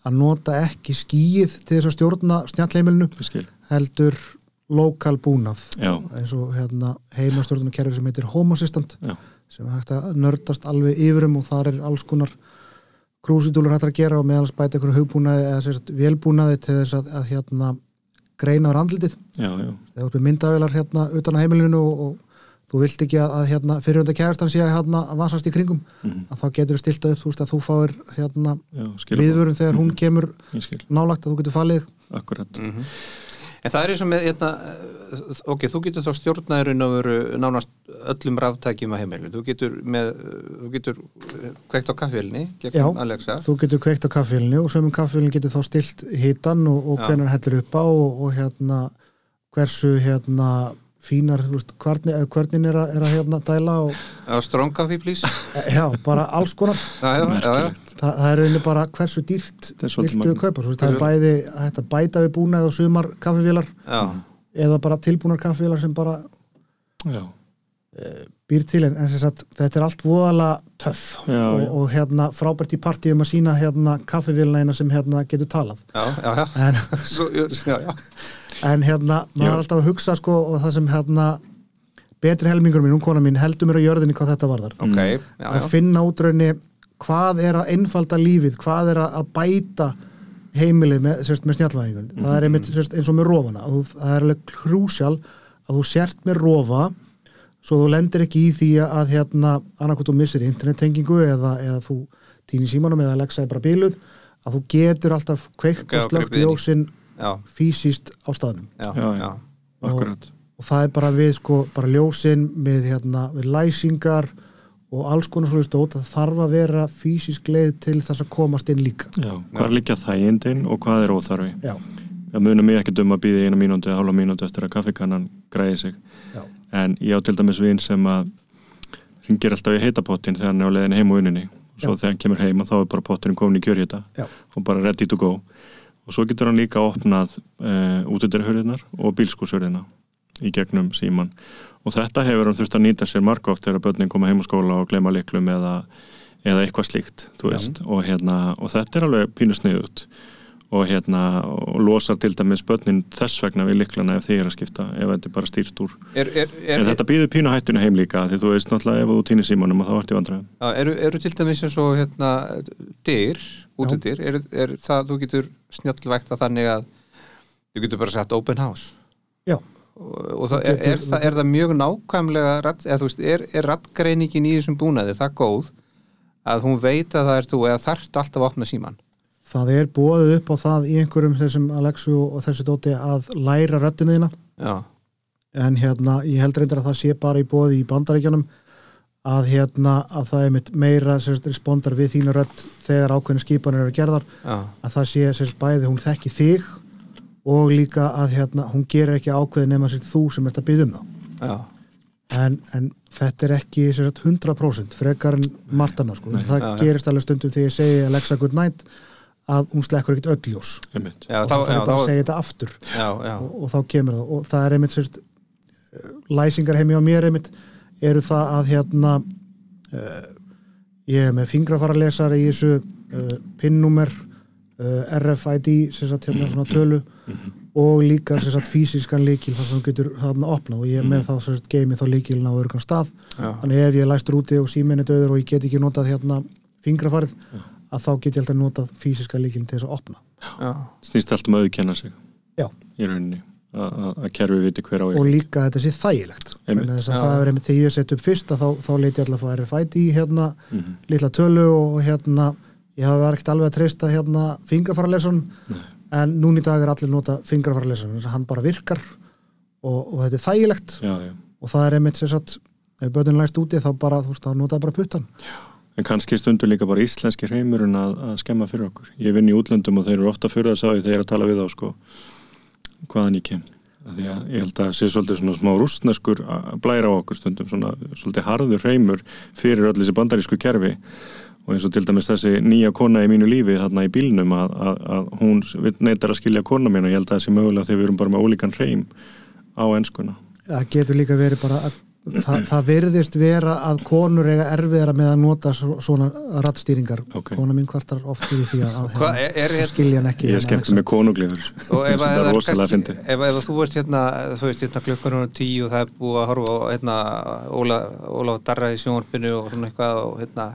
D: að nota ekki skýið til þess að stjórna snjallheimilinu
A: ég skil.
D: heldur lokal búnað
A: Já,
D: eins og hérna, heimastjórnarkerfi sem heitir Home Assistant
A: já,
D: sem er hægt að nördast alveg yfirum og þar er alls konar krúsidúlur hægt að gera og meðalans bæta einhverju hugbúnaði eða sem sagt, vélbúnaði til þess að, að hérna, greina á randlitið
A: já, já.
D: þegar þú ert með myndavélar hérna utan að heimilinu og, og þú vilt ekki að, að hérna, fyrirhunda kærastan sé að hérna, vasast í kringum
B: Mhm.
D: að þá getur þú stilt það upp, þú veist að þú fáir hérna,
A: Já, skilum
D: viðvörun þegar
B: Mhm.
D: hún kemur
A: Ég skil,
D: nálagt að þú getur falið
A: akkurat
B: En það er eins og með, hérna, eh, ok, þú getur þá stjórnaðurinn að veru nánast öllum ráftækjum á heimilu. Þú getur með, eh, þú getur eh, kveikt á kaffélni,
D: Já,
B: gegnum Alexa.
D: þú getur kveikt á kaffélinu og sömum kaffélinu getur þá stilt hitan og, og
B: Já.
D: hvernig hann hellir upp á og, og hérna hversu hérna fínar, þú veist, hvernig, hvernig er að, er að hérna dæla og
B: Já, strong coffee, please.
D: já, bara alls konar
B: Já, já, já, já.
A: Merkilegt.
D: Þa, það er rauninni bara hversu dýrt
A: Þetta er svolítið
D: viltu
A: magnað.
D: kaupa, svo veist, það er bæði hægt að bæta við búnað og sumar kaffevélar
B: já.
D: eða bara tilbúnar kaffevélar sem bara
A: Já,
D: býr til en, en sem sagt, þetta er allt voðalega töff
A: Já,
D: og,
A: já.
D: og hérna frábært í partíum að sína hérna kaffevélina sem hérna getur talað
B: Já, já, já.
D: en,
B: Svo, já, já.
D: en hérna, maður
A: Já.
D: er alltaf að hugsa sko og það sem hérna betri helmingur mín, hún kona mín, heldur mér á jörðinni hvað þetta varðar
B: Ok, já, já.
D: að finna útraunni hvað er að einfalda lífið, hvað er að- að bæta heimilið með, sérst, með snjallvæðingun það er
B: Mhm.
D: einmitt sérst, eins og með rófana og það er alveg krúsjál að þú sért með rófa svo þú lendir ekki í því að hérna, annarkvæmt þú missir internettengingu eða, eða þú týnir símanum eða Alexa er bara bíluð að þú getur alltaf kveikt
B: Ok,
D: og
B: og
D: slögt
B: gripið inn í.
D: ljósin
B: Já,
D: fysiskt á staðnum
B: já,
A: Já,
B: já.
A: já. akkurat
D: og það er bara við sko, bara ljósin með, hérna, við læsingar og alls konar svona stótt það þarf að vera fysisk leið til þess að komast inn líka
A: Já, hvað liggja þægindin og hvað er óþarfi?
D: já,
A: Það munar mig ekki döma að býða eina mínúndu, hálfa mínúndu eftir að kaffikannan græði sig.
D: já,
A: En ég á til dæmis vinn sem að ringir alltaf í heitapottin þegar hann er á leiðin heim og unninni. Svo
D: Já.
A: þegar hann kemur heim að þá er bara potturinn komin í kjörhita
D: já,
A: og bara ready to go. Og svo getur hann líka opnað uh, útidurhurðinar og bílskúshurðina í gegnum síman. Og þetta hefur hann þurft að nýta sér margóft þegar börnin koma heim úr skóla og glema liklum eða, eða eitthvað slíkt, þú veist. Og, hérna, og þetta er alveg pínu sniðut og, hérna, og losar til dæmis börnin þess vegna við liklana ef þeir eru að skipta, ef þetta er bara stýrt úr.
B: Er, er, er,
A: En þetta býður pínu hættinu heim líka því þú veist náttúrulega ef þú týnir símanum og þá ertu í vandræðum.
B: Já, eru, eru til dæmis eins og hérna dyr, útidyr, er, er það, þú getur snjallvægt að þannig að þú getur bara sett open house
D: já.
B: og, og það, er, er, það, er það mjög nákvæmlega radd, eða þú veist, er, er raddgreiningin í þessum búnaði það góð að hún veit að það er þú eða þarft alltaf að opna síman
D: það er bóðið upp á það í einhverjum þessum Alexu og þessu dóti að læra röddina þína
B: Já,
D: en hérna, ég held reyndar að það sé bara í bóði í bandaríkjanum að hérna, að það er mitt meira sérst, respondar við þína rödd þegar ákveðin skipanir eru gerðar
B: já,
D: að það sé sérst, bæði hún þekki þig og líka að hérna, hún gerir ekki ákveðin nema sér þú sem ert að byggja um það
B: já
D: en, en þetta er ekki sem sagt, 100% frekar en margt annað sko. það
B: Já, já.
D: gerist alveg stundum þegar ég segi Alexa good night að hún slekkur ekkert öll ljós
A: Einmitt.
B: Já,
D: og
B: þá,
D: það
B: já,
D: þarf bara
B: þá,
D: að segja þetta aftur
B: já, já,
D: og, og þá kemur það og það er einmitt sérst, læsingar heimi á mér einmitt eru það að hérna uh, ég er með fingrafaralesari í þessu uh, pinnúmer uh, RFID sem sagt hérna svona tölu og líka sem sagt fysiskan líkil þar sem þú getur þarna opnað og ég er með þá sem sagt geimi þá líkilin á örgum stað
B: já,
D: þannig ef ég er læstur úti og síminni döður og ég get ekki notað hérna fingrafarið að þá get ég alltaf notað fysiska líkilin til þess að opna
B: já.
A: Snýst allt um að auðkenna sig
D: Já.
A: í rauninni að- að að kerfi viti hver á
D: og
A: ég.
D: líka þetta sé þægilegt
A: Einmitt.
D: Vegna þess að
B: Já.
D: það er einmitt þegar ég set upp fyrst að þá, þá leiti ég alltaf að RFID hérna,
A: Mhm.
D: litla tölu og hérna ég hafa verið ekkert alveg að treysta hérna fingrafæralesun en núna í dag er allir nota fingrafæralesun þannig að hann bara virkar og, og þetta er þægilegt
A: Já, já.
D: og það er einmitt sem sagt ef börnin læst úti þá bara, þú veist, þá notaði bara puttan
A: En kannski stundur líka bara íslenski hreimurinn að, að skemma fyrir okkur. Ég vinn í útlöndum og þeir eru ofta fyrir þess að þeir eru að tala við á sko hvaðan ég kem. Af Því að ég held að það sé svolítið svona smá rústneskur að blæra á okkur stundum, svona svolítið harður hreimur fyrir öll þessi bandarísku kerfi og eins og til dæmis þessi nýja kona í mínu lífi þarna í bílnum að, að, að hún neytar að skilja kona mín og ég held að það sé mögulega þegar við erum bara með ólíkan hreim á enskuna.
D: það getur líka verið bara að Það, það virðist vera að konur eiga erfiðara með að nota svo- svona rattstýringar
A: Ok.
D: kona mín kvartar oft fyrir því að, hérna- að
B: Hvað er, er,
D: Ég skilja hann ekki
A: Ég er
D: hérna,
A: skemmt með konuglifur
B: og ef,
A: það
B: að-
A: er
B: ef,
A: rosalega
B: kannski-
A: fyndið.
B: ef, ef að þú ert hérna þú veist hérna klukkan hún tíu og það er búið að horfa á hérna Óla, Ólaf Darra í sjónvarpinu og svona eitthvað og hérna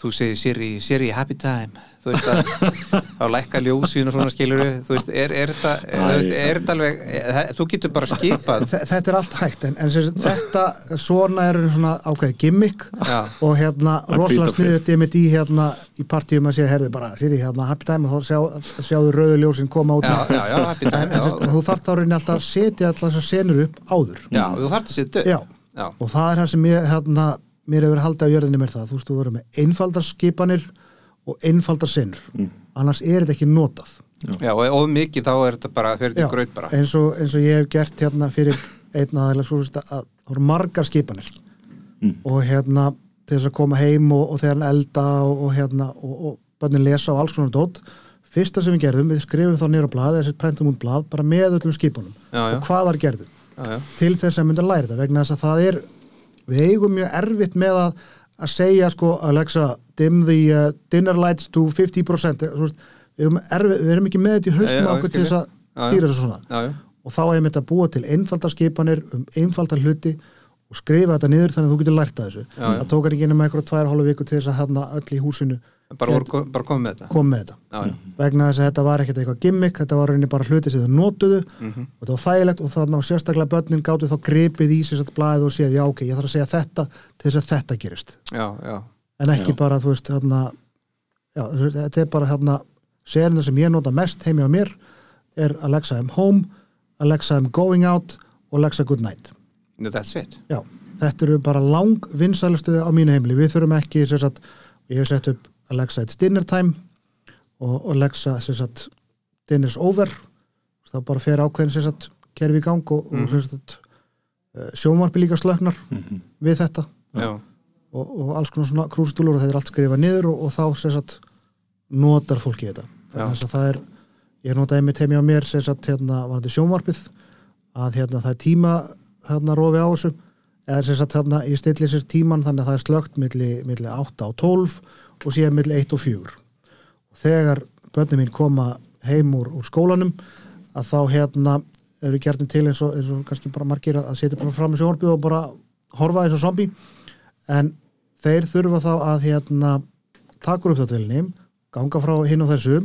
B: þú segir Siri, Siri happy time þú veist að þá lækka ljósin og svona skilur þú veist, er, er þetta er, þú veist, er þetta alveg, er, það- þú getur bara skipað
D: Þe- Þetta er allt hægt, en, en sem sagt, þetta svona er svona ákveði gimmick
B: Já.
D: og hérna
A: Að
D: rosalega
A: bíta
D: sniðut ég mitt í hérna í partíum að segja, herði bara, sér ég hérna happy time og þá sjá, sjáðu rauðu ljósin koma út
B: já,
D: með-
B: já, já, happy
D: en, en,
B: time
D: sem sagt,
B: já,
D: þú þarf þá rauninni alltaf að setja alltaf þessar senur upp áður
B: já, þú þarft að setja upp.
D: Já.
B: já,
D: og það er það sem ég, hérna, mér hefur haldið á jörðinni mér það, þú veist, þú verður með einfaldar skipanir og einfaldar senur annars er þetta ekki notað
B: já, og og mikið þá er þetta bara fyrir
D: Já, Eh.
B: til gröð bara
D: eins og, eins og ég hef gert hérna fyrir einn aðeins svo veist að það voru margar skipanir
B: Hmm.
D: og hérna til þess að koma heim og, og þegar hann elda og, og hérna og, og bönnin lesa og alls konar dót fyrsta sem við gerðum, við skrifum þá nýra blað eða sett prentum út blað bara með öllum skipunum
B: Já, já.
D: og hvað þar gerðum
B: já, já,
D: til þess að mynda læra þetta vegna þess að það er við eigum mjög erfitt með að, að segja sko Alexa dim the uh, dinner lights to 50% Þú veist, við, erum erfitt, við erum ekki með þetta í
B: Já,
D: haustum
B: já,
D: á okkur til þess
B: skil ég.
D: að
B: Já, já.
D: stýra þessu svona
B: já, já.
D: og þá hefum þetta búa til einfaldar skipanir um einfaldar hluti og skrifa þetta niður þannig að þú getur lært að þessu
B: Já, já.
D: það tókar ekki nema einhverja tvær hólu viku til þess að hérna öll í húsinu
B: bara, voru, bara komið með þetta
D: kom með þetta
B: já, já,
D: vegna þess að þetta var ekkert eitthvað gimmick þetta var rauninni bara hluti sem þau notuðu og þetta var þægilegt og þannig að sérstaklega börnin gáttu þá gripið í sér satt blæð og séð já ok, ég þarf að segja þetta til þess að þetta gerist
B: já, já,
D: en ekki
A: Já.
D: bara, þú veist, þarna já, þú veist, þetta er bara þarna serina sem ég nota mest heimi á mér er Alexa I'm home Alexa I'm going out og Alexa good night
B: Nei, that's it
D: já, þetta eru bara lang vinsælustu á mínu heimili, við þurfum ekki sem sagt, ég hef sett upp Alexa it's dinner time og, og Alexa sem sagt, dinner's over þá bara fer ákveðin sem sagt, kerfi í gang og, og sem sagt, eh, sjónvarpi líka slöknar við þetta
B: já,
D: og, og alls konar svona krústúlur og þetta er allt skrifað niður og, og þá sem sagt notar fólki þetta
B: Já.
D: þannig að það er, ég notaði einmitt heimi á mér sem sagt hérna var þetta sjónvarpið að hérna það er tíma hérna rofi á þessu eða sem sagt hérna ég stilli sér tíman þannig að það er slögt milli, milli 8 og 12 og síðan milli 1 og 4 og þegar börnum mín koma heim úr, úr skólanum að þá hérna eru gertin til eins og, eins og kannski bara margir að að setja bara fram í sjónvarpið og bara horfa eins og zombi en þeir þurfa þá að hérna, taka upp þáttvelni ganga frá hinn og þessu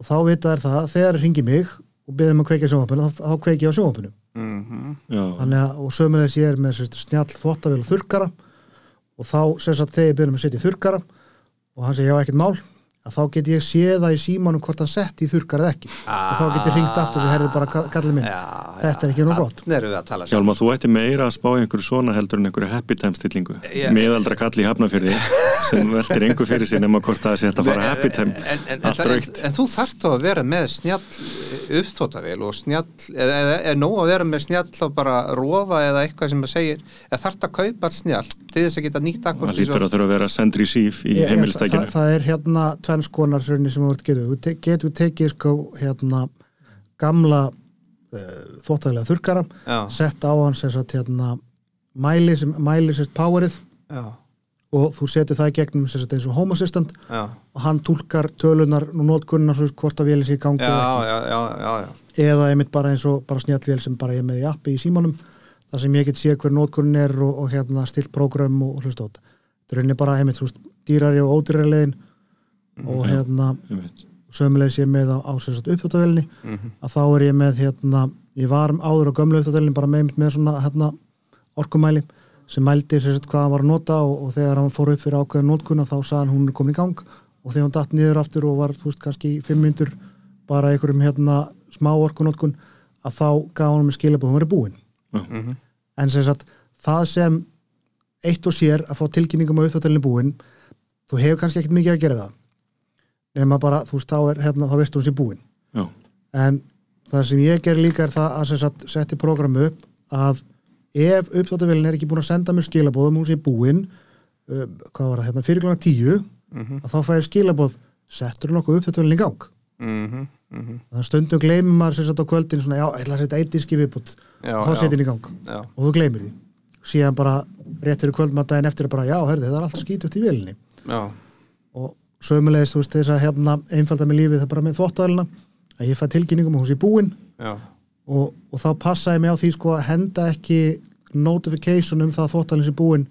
D: og þá vita þær það að þegar ringi mig og beðum að kveikja sjónvapinu þá, þá kveiki ég á sjónvapinu
B: Mhm.
A: já,
D: Þannig að, og sömulegis ég er með sérst, snjall þvottavél og þurrkara og þá sem sagt þegar ég byrjum að setja í þurrkara og hann segir ég á ekkert mál að þá get ég séð það í símanum hvort hann setti í þurrkara eða ekki og þá get ég ringt aftur og herði bara ka- kallið minn
B: já,
D: þetta er ekki nú gott
B: þannig erum við að tala saman.
A: Hjálma, þú ætti meira að spá í einhverju svona heldur en einhverju happy time stillingu
B: Já.
A: miðaldra kall í hafnafyrði sem veltir engu fyrir sér nema hvort það sé hægt að fara happy time
D: eh,
B: en, en, en,
A: allt
B: en,
A: raukt
B: en þú þarft þá að vera með snjall uppþóttavél og snjall eða eð, er nóg að vera með snjall þá bara rofa eða eitthvað sem að segir eða þarft að kaupa snjall til þess að geta nýtt akkur
A: það lítur að þurfa að vera send receive í heimilistækinu
D: það, það er hérna tvennskonar sérni sem þú getur þú te- getur tekið sko hérna gamla uh, þóttæðilega þurrkara
B: Já.
D: sett á hann sem sagt hérna mæli sem mæli sérst powerið
B: já,
D: og þú setur það í gegnum sem sagt eins og home assistant
B: já,
D: og hann túlkar tölunar og notkunnar svo hvort að vélins í gangi
B: já,
D: eða
B: já, já, já, já.
D: ekki. eða einmitt bara eins og bara snjallvél sem bara ég er með í appi í símanum þar sem ég get séð hver notkunn er og, og hérna stilt prógram og, og hlust át það er rauninni bara einmitt þú veist, dýrari og ódýrari leiðin og hérna
A: Einmitt.
D: sömulegis ég með á, á sem sagt, uppþjóttavélinni að þá er ég með hérna, ég var áður á gömlu uppþjóttavélinni bara með, með svona hérna, orkumæli sem mældi sem sagt, hvað hann var að nota og, og þegar hann fór upp fyrir ákveðin nótkunna þá sagði hann hún er komin í gang og þegar hún datt niður aftur og var þú veist, kannski í fimm myndur bara í einhverjum hérna, smá orkunótkun að þá gaf hann með skilabóð hún verið búin
A: Já.
D: en sem sagt það sem eitt og sér að fá tilkynningum á uppþjóttavélinni búin þú hefur kannski ekkert mikið að gera við það nema bara, þú veist, þá er hérna, þá veistu hún sér búin
A: Já.
D: en það sem ég ger líka er það að sem sagt, setja program upp að ef uppþáttavélin er ekki búin að senda mér skilabóð um hún sé búin uh, hvað var það, hérna, fyrir klana tíu
B: Mhm.
D: að þá fæ ég skilabóð settur hún okkur uppþáttavélin í gang
B: Mm -hmm, mm -hmm.
D: þannig að stundum gleymir maður sem sagt á kvöldin svona, já, ég ætla að setja eitt diski viðbútt
B: Já,
D: og þá
B: já.
D: setja hún í gang
B: já,
D: og þú gleymir því síðan bara rétt fyrir kvöldmattaðin eftir er bara, já, herði, það er allt skítugt í vélinni
B: já,
D: og sömulegis þú veist þess að hérna einfalda með lífið það bara með þvóttavælina að ég fæ tilkynningum og hún sé búin
B: já
D: og, og þá passa ég mig á því sko að henda ekki notification um það að þvóttavælin sé búin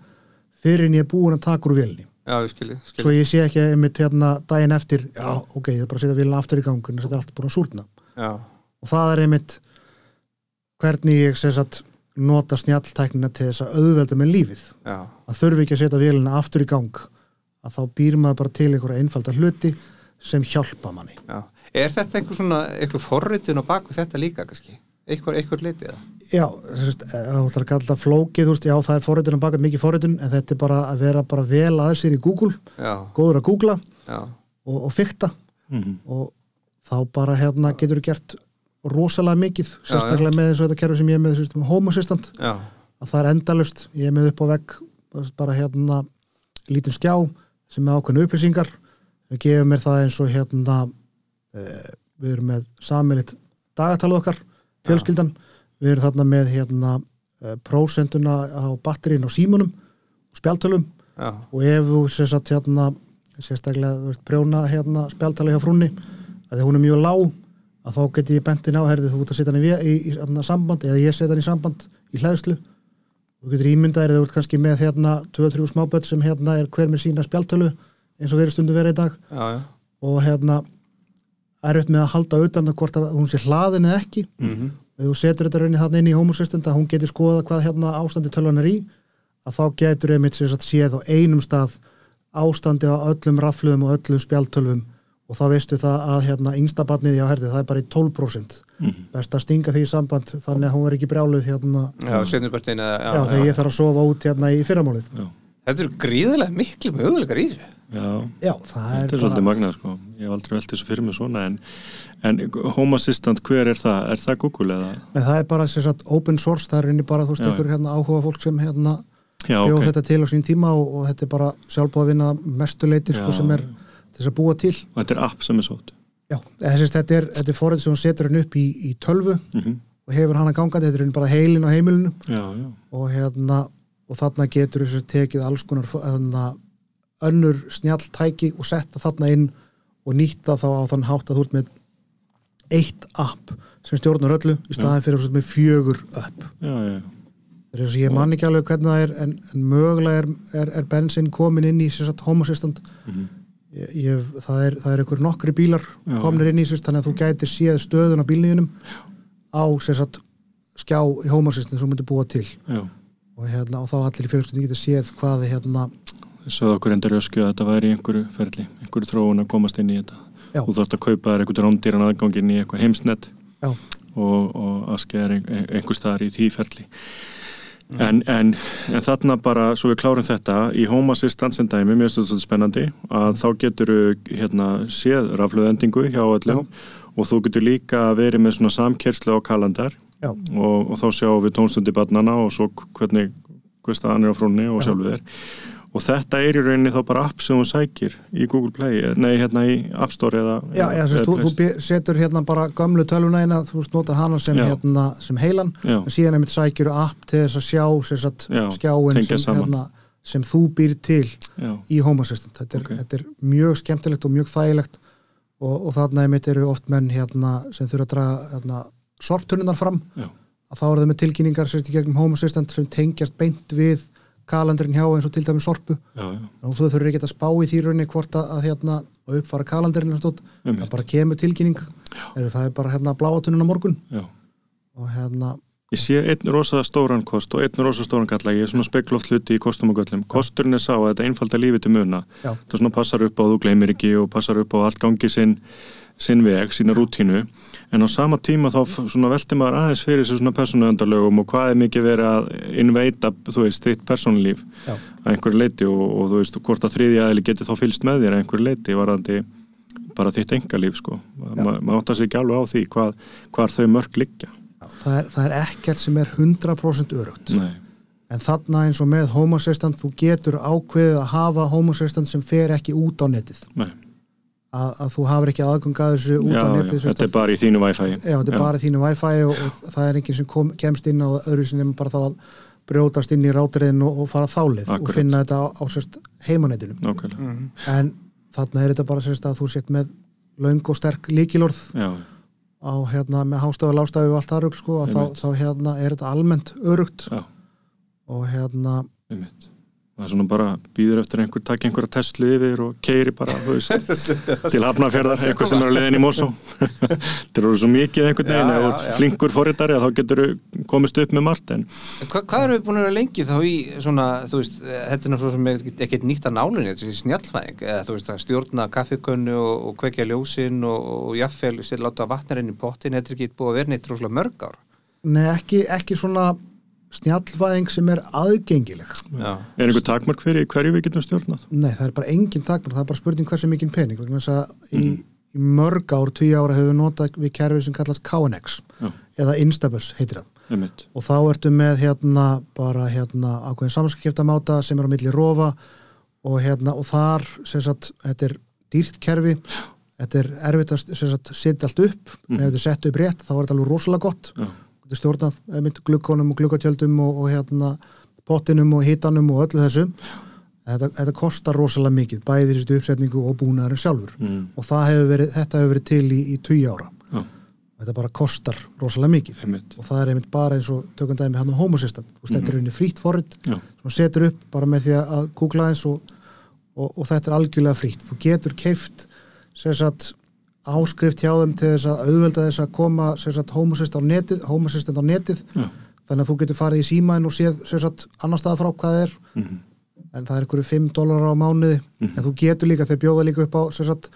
D: fyrir en ég er búin að taka úr vélni
B: já, ég skilji, skilji.
D: svo ég sé ekki einmitt hérna daginn eftir já, ok, það er bara að setja vilja aftur í gangun þetta er allt búin að súrna
B: Já,
D: og það er einmitt hvernig ég sem sagt nota snjalltæknina til þess að auðvelda með lífið
B: já,
D: að þurfi ekki að setja vélina aftur í gang að þá býr maður bara til einhverja einfalda hluti sem hjálpa manni
B: já. Er þetta einhver svona, einhver forritun á baku þetta líka kannski? Einhver, einhver litið?
D: Já, þú veist, ef þú ætlar að kalla þetta flókið, þú veist, já, það er forritun að baka mikið forritun, en þetta er bara að vera bara vel aðeins sér í Google,
B: Já,
D: góður að googla
B: já,
D: og, og fykta
A: Mhm.
D: og þá bara hérna getur þú gert rosalega mikið,
B: Já, já.
D: sérstaklega með eins og þetta kerfi sem ég er með, þú veist, með Home Assistant,
B: já,
D: að það er endalust, ég er með upp á vegg, þú veist, bara hérna lítinn skjá sem er ákveðin upplýsingar, við gefum mér það eins og hérna, eh, við erum með samilitt dagatalið okkar, fjölskyldan, við erum þarna með hérna eh, prósentuna á batterín á símunum og spjaltölum
B: já,
D: og ef þú sérst að hérna, sérstaklega þú veist, prjóna hérna spjaltali hjá frúnni að því hún er mjög lág að þá geti ég bentin á herði þú út að setja hann í, í, í hérna, samband eða ég setja hann í samband í hlæðslu þú getur ímyndað er þú ert kannski með hérna 2-3 smáböld sem hérna er hver með sína spjaltölu eins og verið stundu verið í dag
B: já, já.
D: og hérna er upp með að halda utan að hvort að hún sé hlaðin eða ekki mm
A: Mhm.
D: -hmm. eða þú setur þetta raunin þarna inn í homosestund að hún geti skoða hvað hérna ástandi tölvan er í að þá getur einmitt sem sagt séð á einum stað ástandi á öllum rafluðum og öllum spjaltölvum og þá veistu það að hérna yngsta barnið já herði það er bara í 12%
A: Mhm.
D: best að stinga því í samband þannig að hún er ekki brjáluð hérna
B: Já, seinnipartin eða,
D: já, þegar ég þarf að sofa út hérna í fyrramálið
A: Já,
B: Þetta eru gríðarlega miklu möguleikar í þessu.
A: já.
D: já, það er
A: Þetta er svolítið magnað sko, ég hef aldrei velt þessu fyrir mig svona en, en Home Assistant, hver er það? Er það Google eða?
D: Nei, það er bara sem sagt open source, það er inni bara þú veist
A: Já, já.
D: ykkur hérna áhuga fólk sem hérna
A: Já,
D: bjóð
A: ok,
D: þetta til á sín tíma og, og þetta er bara sjálfbúð að vinna mestuleiti sko
A: Já.
D: sem er til þess að búa til.
A: og þetta er app sem er sótt
D: Já, þess að þetta er, þetta er forrið sem hún setur hann upp í, í tölvu
A: Mhm.
D: og hefur hann að ganga, þetta er hann bara heilin á heimilinu
A: Já, já,
D: og hérna og þarna getur þessu tekið alls konar þarna, önnur snjalltæki og setta þarna inn og nýtta þá á þann hátt að þú ert með eitt app sem stjórnar öllu í staðin fyrir þú ert með fjögur app
A: já, já,
D: það er eins og ég man ekki alveg hvernig það er en, en mögulega er, er, er bensin komin inn í sem sagt homosistant mm ég, ég, það, er, það er einhver nokkri bílar
A: Mhm. Já,
D: komnir inn í sem sagt, þannig að þú gætir séð stöðun á bílniðinum á sem sagt skjá í homosistant sem þú myndir búa til
A: já.
D: og, hérna, og þá allir í fjölskyldinu geta séð hvað er hérna
A: Söðu okkur endur öskju að þetta væri í einhverju ferli, einhverju þróun að komast inn í þetta
D: Já.
A: Þú þarft að kaupa þér einhvern rándýran aðgangin í eitthvað heimsnett
D: já,
A: og, og askja er ein- ein- einhvers staðar í því ferli
D: Mm.
A: en, en, en þarna bara svo við klárum þetta í Home Assistant sem dæmi, mér finnst þetta svolítið spennandi að þá getur hérna, séð rafluðendingu hjá öllum og þú getur líka verið með svona samkerslu á kalendar
D: já,
A: og, og þá sjáum við tónstundi barnana og svo hvernig hver staðan er á frónni og sjálfu þér og þetta er í rauninni þá bara app sem þú sækir í Google Play, nei hérna í App Store eða,
D: já, já sérst, þú,
A: eða
D: þú be- setur hérna bara gömlu tölvuna eina þú veist, notar hana sem,
A: Já.
D: hérna, sem heilan
A: Já.
D: en síðan einmitt sækjur app til þess að sjá sérst,
A: Já,
D: skjáin
A: tengja
D: sem,
A: saman.
D: hérna, sem þú býr til
A: já,
D: í Home Assistant þetta er,
A: Ok.
D: þetta er mjög skemmtilegt og mjög þægilegt og, og þarna einmitt eru oft menn hérna, sem þurfa að draga hérna, sorptununar fram
A: já,
D: að þá eru það með tilkynningar sérst í gegnum Home Assistant sem tengjast beint við kalendrin hjá eins og til dæmis sorpu
A: já, já.
D: og þú þurfur ekki að spá í því rauninni hvort að, að hérna, að uppfara kalandarinn
A: Einmitt.
D: það bara kemur tilkynning er, það er bara hérna bláatunum á morgun
A: já.
D: og hérna,
A: Ég sé einn rosa stóran kost og einn rosa stóran galla, ég er svona spekloft hluti í kostum og göllum. Kosturinn er sá að þetta einfalda lífi til muna.
D: Já.
A: Það svona passar upp á að þú gleymir ekki og passar upp á að allt gangi sinn, sinn veg, sína rútínu. En á sama tíma þá f- svona velti maður aðeins fyrir sér svona persónuöndarlögum og hvað er mikið verið að innveita, þú veist, þitt persónulíf
D: Já.
A: að einhverju leiti og, og þú veist, hvort að þriði aðli geti þá fylst með þér að einhverju leiti varandi bara þitt engalíf, sko. Ma, maður áttar sig ekki alveg á því hvað, hvar þau mörg liggja.
D: það er, það er ekkert sem er 100% örugt
A: Nei.
D: en þarna eins og með Home Assistant þú getur ákveðið að hafa Home Assistant sem fer ekki út á netið
A: Nei.
D: að, að þú hafur ekki aðgang að þessu út á
A: já,
D: netið
A: já, þetta er bara í þínu Wi-Fi
D: Já, þetta er bara þínu Wi-Fi og, og það er enginn sem kom, kemst inn á öðru sem nefnum bara þá að brjótast inn í rátriðin og, og fara þálið
A: Akkurat.
D: og finna þetta á, á sérst heimanetinum.
A: nákvæmlega
D: En þarna er þetta bara sérst að þú sett með löng og sterk líkilorð
A: já,
D: á hérna með hástafi, lástafi og allt það rugg sko að þá,
A: Einmitt.
D: þá hérna er þetta almennt örugt
A: já,
D: og hérna
A: einmitt það er svona bara býður eftir að einhver takk einhverja Tesla yfir og keiri bara þú veist, til hafnafjörðar, einhver sem er að leiðin í Mosó þetta eru svo mikið einhvern
B: Já,
A: veginn, ef
B: já,
A: þú ert
B: já.
A: flinkur forritari að þá getur komist upp með margt en
B: Hva, hvað erum við búin að vera lengi þá í svona, þú veist, eh, þetta er náttúrulega sem ekkert- ekkert nýtt að nálinni, þetta er snjallvæðing eða þú veist að stjórna kaffikönnu og, og kvekja ljósin og, og jaffel sér láta vatnarinn í pottin, þetta er ekki búið að vera neitt rosalega mörg ár
D: Nei, ekki, ekki svona snjallvæðing sem er aðgengileg.
B: Já,
A: er einhver takmark fyrir hverju við getum stjórnað
D: Nei, það er bara engin takmörk, það er bara spurning hversu mikinn pening vegna þess að í, í mörg ár, tíu ára hefur við notað við kerfið sem kallast KNX
A: Já.
D: eða Instabus heitir það
A: einmitt,
D: og þá ertu með hérna bara hérna ákveðin samanskiptamáta sem er á milli rofa og hérna og þar sem sagt, þetta er dýrt kerfi þetta er erfitt að sem sagt setja allt upp ef þetta er sett upp rétt þá er þetta alveg rosalega gott
A: já,
D: þetta er stjórnað einmitt glukkonum og glukatjöldum og, og hérna pottinum og hitanum og öllu þessu þetta, þetta kostar rosalega mikið bæði þessi uppsetningu og búnaðurinn sjálfur
A: mm,
D: og það hefur verið, þetta hefur verið til í, í 20 ára
A: já,
D: þetta bara kostar rosalega mikið
A: einmitt
D: og það er einmitt bara eins og tökum dæmi hann á Homo System, þú veist, þetta
A: Mm.
D: er einnig frítt forrið
A: já,
D: sem þú setur upp bara með því að googla eins og, og, og þetta er algjörlega frítt þú getur keift sagt, áskrift hjá þeim til þess að auðvelda þess að koma sem sagt, Homo System á netið, Homo System á netið
A: já,
D: þannig að þú getur farið í símaðin og séð sem sagt, annar staða frá hvað það er
A: mhm,
B: Mm-hmm.
D: en það er einhverju 5 dólar á mánuði en þú getur líka, þeir bjóða líka upp á sem sagt,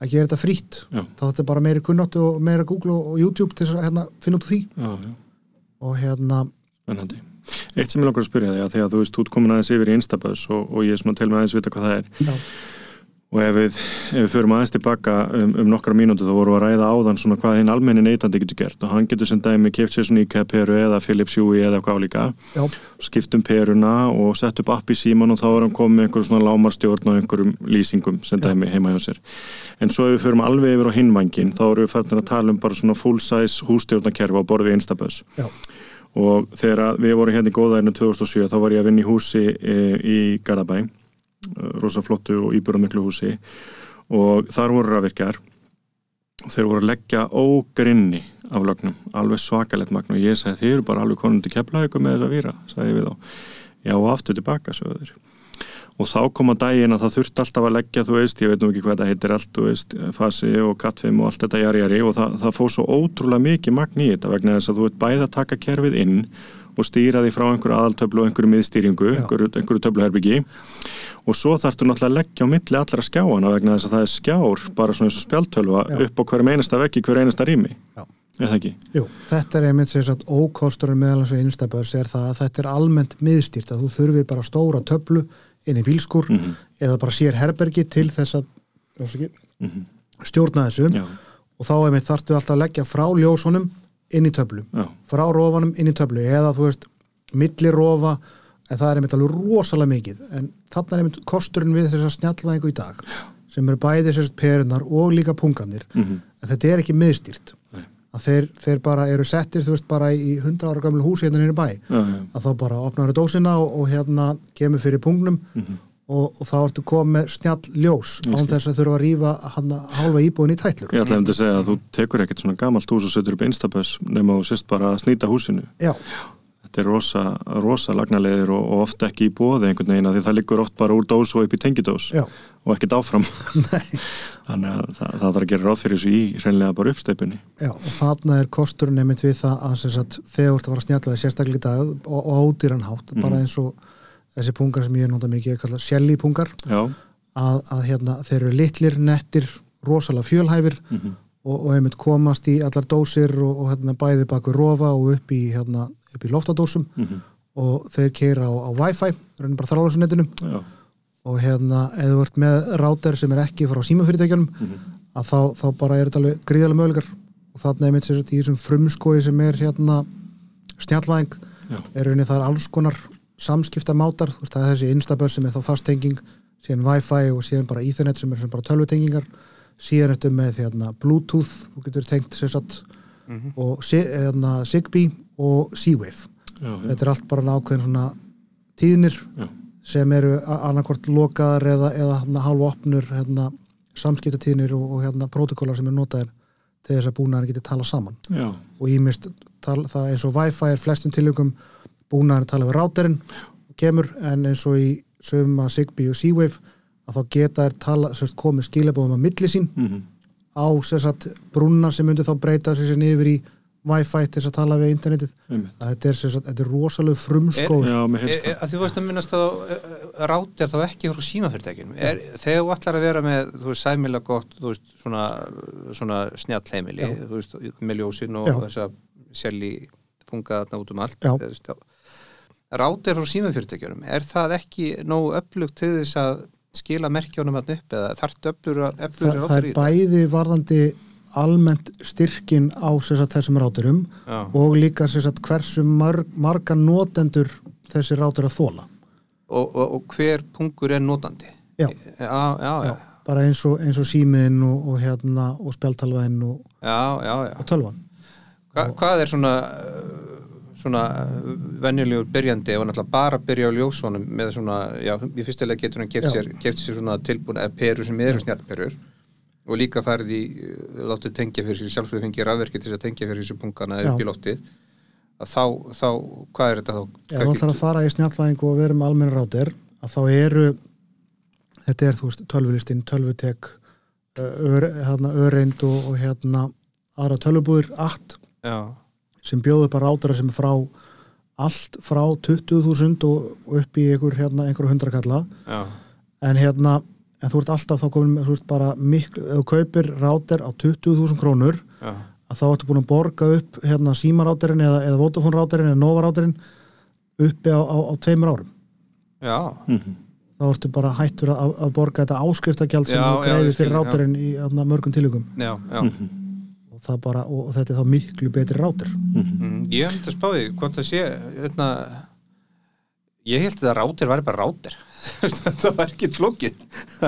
D: að gera þetta frítt
A: já,
D: þá þetta er bara meiri kunnáttu og meira Google og, og YouTube til þess að hérna, finna út úr því
A: já, já
D: og hérna,
A: Spennandi. Eitt sem ég langar að spyrja þig að því að þú veist, þú ert komin aðeins yfir í Instabuzz og, og ég er svona til með aðeins vita hvað það er
D: já,
A: og ef við, ef við förum aðeins tilbaka um, um nokkra mínútu þá vorum við að ræða áðan svona hvað hinn almenni neytandi getur gert og hann getur sem dæmi keft sér svona IKEA peru eða Philips Hue eða hvað líka
D: já,
A: skipt um peruna og sett upp app í síman og þá er hann komið með einhverjum svona lámarstjórn og einhverjum lýsingum sem dæmi heima hjá sér en svo ef við förum alveg yfir á hinvangin þá erum við færðin að tala um bara svona full size hússtjórnakerfi á borði Instabuzz
D: já,
A: og þegar að við vorum hérna í góðærinu 2007 þá var ég að vinna í húsi e, í Garðabæ e, rosa flottu og íbúramiklu húsi og þar voru rafvirkjar og þeir voru að leggja ógrinni af lögnum, alveg svakalett magn og ég sagði þeir eru bara alveg konum til keflaðið með þessa víra, sagði ég við þá já og aftur tilbaka, sögðu þeir og þá kom að daginn að það þurfti alltaf að leggja þú veist, ég veit nú ekki hvað það heitir allt þú veist, fasi og kattfim og allt þetta jari, jari, og það, það fór svo ótrúlega mikið magn í þetta vegna þess að þú veit bæði að taka kerfið inn og stýra því frá einhverju aðaltöflu og einhverju miðstýringu,
D: Já.
A: einhverju, einhverju töfluherbyggi og svo þarftu náttúrulega að leggja á milli allra skjáana vegna þess að það er skjár bara svona eins og spjaltölva
D: Já.
A: upp á hverjum einasta veggi, hver einasta rými
D: já
A: er það ekki?
D: Jú, þetta er einmitt sem sagt ókosturinn meðalans við Instabus er það að þetta er almennt miðstýrt að þú þurfir bara stóra töflu inn í bílskur eða bara sér herbergi til þess að mm stjórna þessu
A: Já,
D: og þá einmitt þarftu alltaf að leggja frá ljósunum inn í töflu,
A: já,
D: frá rofanum inn í töflu eða þú veist, milli rofa en það er einmitt alveg rosalega mikið en þarna er einmitt kosturinn við þess að snjallvæðingu í dag sem eru bæði sérst perunar og líka punganir
A: mhm,
D: en þetta er ekki miðstýrt
A: Nei.
D: að þeir, þeir bara eru settir þú veist bara í 100 ára gamlu húsi hérna nýri bæ
A: já, já,
D: að þá bara opnar það dósina og, og hérna kemur fyrir pungnum
A: Mhm.
D: og, og þá ertu komið með snjall ljós án þess að þurfa að rýfa hann hálfa íbúin í tætlur
A: Ég ætlaði um að segja að þú tekur ekkert svona gamalt hús og setur upp instaböss nema þú sérst bara að snýta húsinu.
D: Já,
A: Þetta er rosa, rosa lagnalegir og, og ofta ekki í bóði einhvern veginn af því það liggur oft bara úr dós og upp í tengidós
D: já,
A: og ekkert áfram. Þannig að það, það þarf að gera ráð fyrir þessu í hreinlega bara uppsteipunni.
D: já og þarna er kosturinn einmitt við það að sem sagt, þegar þú ert að fara að snjalla því sérstaklega í dag og, og ádýran hátt bara eins og þessi pungar sem ég nota mikið ég kalla sjelli pungar
A: Já,
D: að, að hérna, þeir eru litlir, nettir rosalega fjölhæfir og, og einmitt komast í allar dósir og, og hérna, bæði baku rofa og upp í, hérna, upp í loftadósum
A: Mhm.
D: og þeir keira á, á Wi-Fi, reynir bara þrálusunetinum
A: já,
D: og hérna, ef þú ert með ráter sem er ekki frá símafyrirtækjunum að þá, þá bara er þetta alveg gríðalega mögulegar og þarna einmitt sér í þessum frumskói sem er hérna snjallvæðing
A: Já.
D: er rauninni það er alls konar samskiptamátar, þú veist það er þessi instaböss sem er þá fasttenging, síðan wifi og síðan bara ethernet sem er sem bara tölvutengingar síðan ertu með hérna bluetooth þú getur tengt sér satt
B: Mhm.
D: og si- hérna, Zigbee og Z-Wave
A: já, já,
D: Mm. þetta er allt bara nákvæðin svona tíðnir
A: já,
D: sem eru annarkvort lokaðar eða, eða hérna, hálfa opnur hérna, samskiptatíðnir og, og hérna, protokólar sem eru notaðir til þess að búnaðar geti tala saman
A: já,
D: og ímist tal, það eins og Wi-Fi er flestum tilökum búnaðar tala við ráterinn og kemur en eins og í sögum að Zigbee og Seawave að þá geta þær tala, sérst, komið skilabóðum á milli sín
A: mm -hmm.
D: á sérst, brunnar sem myndi þá breyta sérst, yfir í Wi-Fi til þess að tala við internetið
A: Einmitt.
D: að þetta er, sérst, þetta er rosalega frumskóð
A: Já, mér
B: E,
A: heyrst það.
B: að þú veist að minnast þá rátt er þá ekki frá símafyrirtækjum er, þegar þú ætlar að vera með þú veist sæmilega gott þú veist, svona, svona snjall heimili þú veist, með ljósin og
D: Já.
B: þess að selji punga þarna út um allt
D: Já.
B: veist, rátt er frá símafyrirtækjum er það ekki nógu öflugt til þess að skila merkjónum hann upp eða þarft öflur
D: Þa,
B: öflur
D: það er bæði varðandi almennt styrkin á sérst, þessum ráturum
B: og,
D: og líka sérst, hversu marg, marga notendur þessi rátur að þóla
B: og, og, og hver pungur er notandi
D: Já.
B: já, já, já,
D: Já, bara eins og, eins og símiðin og, og, hérna, og spjaltalvæðin og,
B: já, já, já.
D: og tölvan
B: Hva, hvað er svona uh, svona uh, venjulegur byrjandi ef hann ætla bara að byrja á ljósónum með svona, já, í fyrstilega getur hann geft
D: Já.
B: sér, geft sér svona tilbúin eða perur sem eru snjallperur og líka farið í, uh, látið tengja fyrir sér sjálfsögur fengið rafverki til þess að tengja fyrir þessu punkana
D: Já.
B: upp í loftið að þá, þá, hvað er þetta þá?
D: Ef þú ætlar að fara í snjallvæðingu og vera með almenn rátir að þá eru þetta er þú veist tölvulistinn, tölvutek ör, hérna, öreind og, og hérna aðra tölvubúður allt
B: já,
D: sem bjóðu upp að rátara sem er frá allt frá 20.000 og og upp í einhver, hérna, einhver hundrakalla
B: já,
D: en hérna en þú ert alltaf þá komin með þú ert bara miklu, ef þú kaupir rátir á 20.000 krónur
B: já,
D: að þá ertu búin að borga upp hérna símarátirinn eða, eða votafónrátirinn eða novarátirinn uppi á, á, á tveimur árum
B: já
D: Hm.
A: Mhm.
D: þá ertu bara hættur að, að borga þetta áskiptagjald sem
B: Já,
D: þú
B: já, ég
D: greiðir
B: skil,
D: fyrir
B: já.
D: rátirinn í hérna, mörgum tilugum
B: já, já
D: Hm. og, það bara, og, og þetta er þá miklu betri rátir
B: Mm, ég hef myndið að spá því hvort það sé hérna, ég held að rátir væri bara rátir þetta var ekki flókið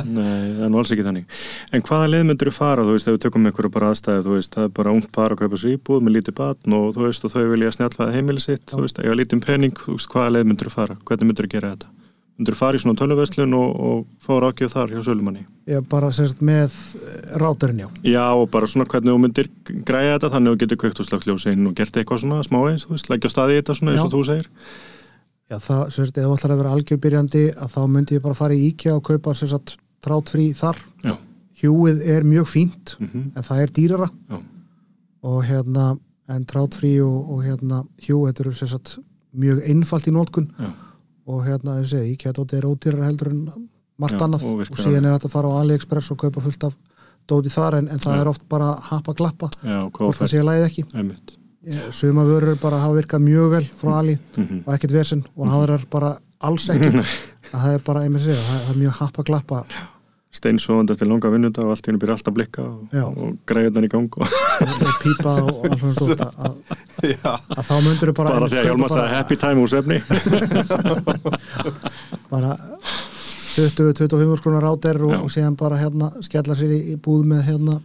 A: Nei, það er nú alls ekki þannig. En hvaða leið myndur þú fara, þú veist, ef við tökum ykkur bara aðstæði, þú veist, það er bara ungt par að kaupa sér íbúð með lítið batn og þú veist, og þau vilja snjalla heimili sitt, þú veist, eiga lítið pening, þú veist, hvaða leið myndur þú fara, hvernig myndur þú gera þetta? Myndur þú fara í svona tölvuverslun og, og fá rákjöf þar hjá sölumanni?
D: ég bara semst með eh, rátirinn já
A: Já, og bara svona hvernig þú myndir græja þetta, þannig að þú getur kveikt og slagt ljósinn og gert eitthvað svona smá eins, þú veist, leggja á staði í þetta svona eins og
D: Já.
A: þú segir.
D: Já, það, sérst, ef þú ætlar að vera algjörbyrjandi að þá myndi ég bara fara í IKEA og kaupa sérst, trátfrí þar
A: Já.
D: hjúið er mjög fínt
B: Mm.
A: Mhm.
D: en það er dýrara
A: Já.
D: og hérna, en trátfrí og, og hérna, hjú, þetta eru sérst mjög einfalt í nótkun
A: Já.
D: og hérna, ég segi, IKEA dóti er ódýrar heldur en margt
A: Já,
D: annað
A: og
D: og,
A: virkar
D: síðan er þetta að fara á AliExpress og kaupa fullt af dóti þar en, en það
A: Já.
D: er oft bara happa glappa
A: Já, og hvað
D: hvort það
A: fær?
D: sé að læðið ekki
A: Einmitt.
D: Ég- suma vörur bara hafa virkað mjög vel frá Ali
A: Mhm.
D: og ekkert vesen og aðrar bara alls ekki að það er bara, ég með segja, það, það er mjög happa glappa
A: Steinsofandi eftir langa vinnunda og allt í hennu byrja allt að blikka og,
D: Já.
A: og græja í gang og
D: og pípa og alls svona dót að, að,
B: já,
D: að þá myndur bara,
A: bara því að Hjálmar sagði happy time úr svefni
D: bara 20-25 skrónar áter og,
A: Já.
D: og síðan bara hérna skella sér í, í búð með hérna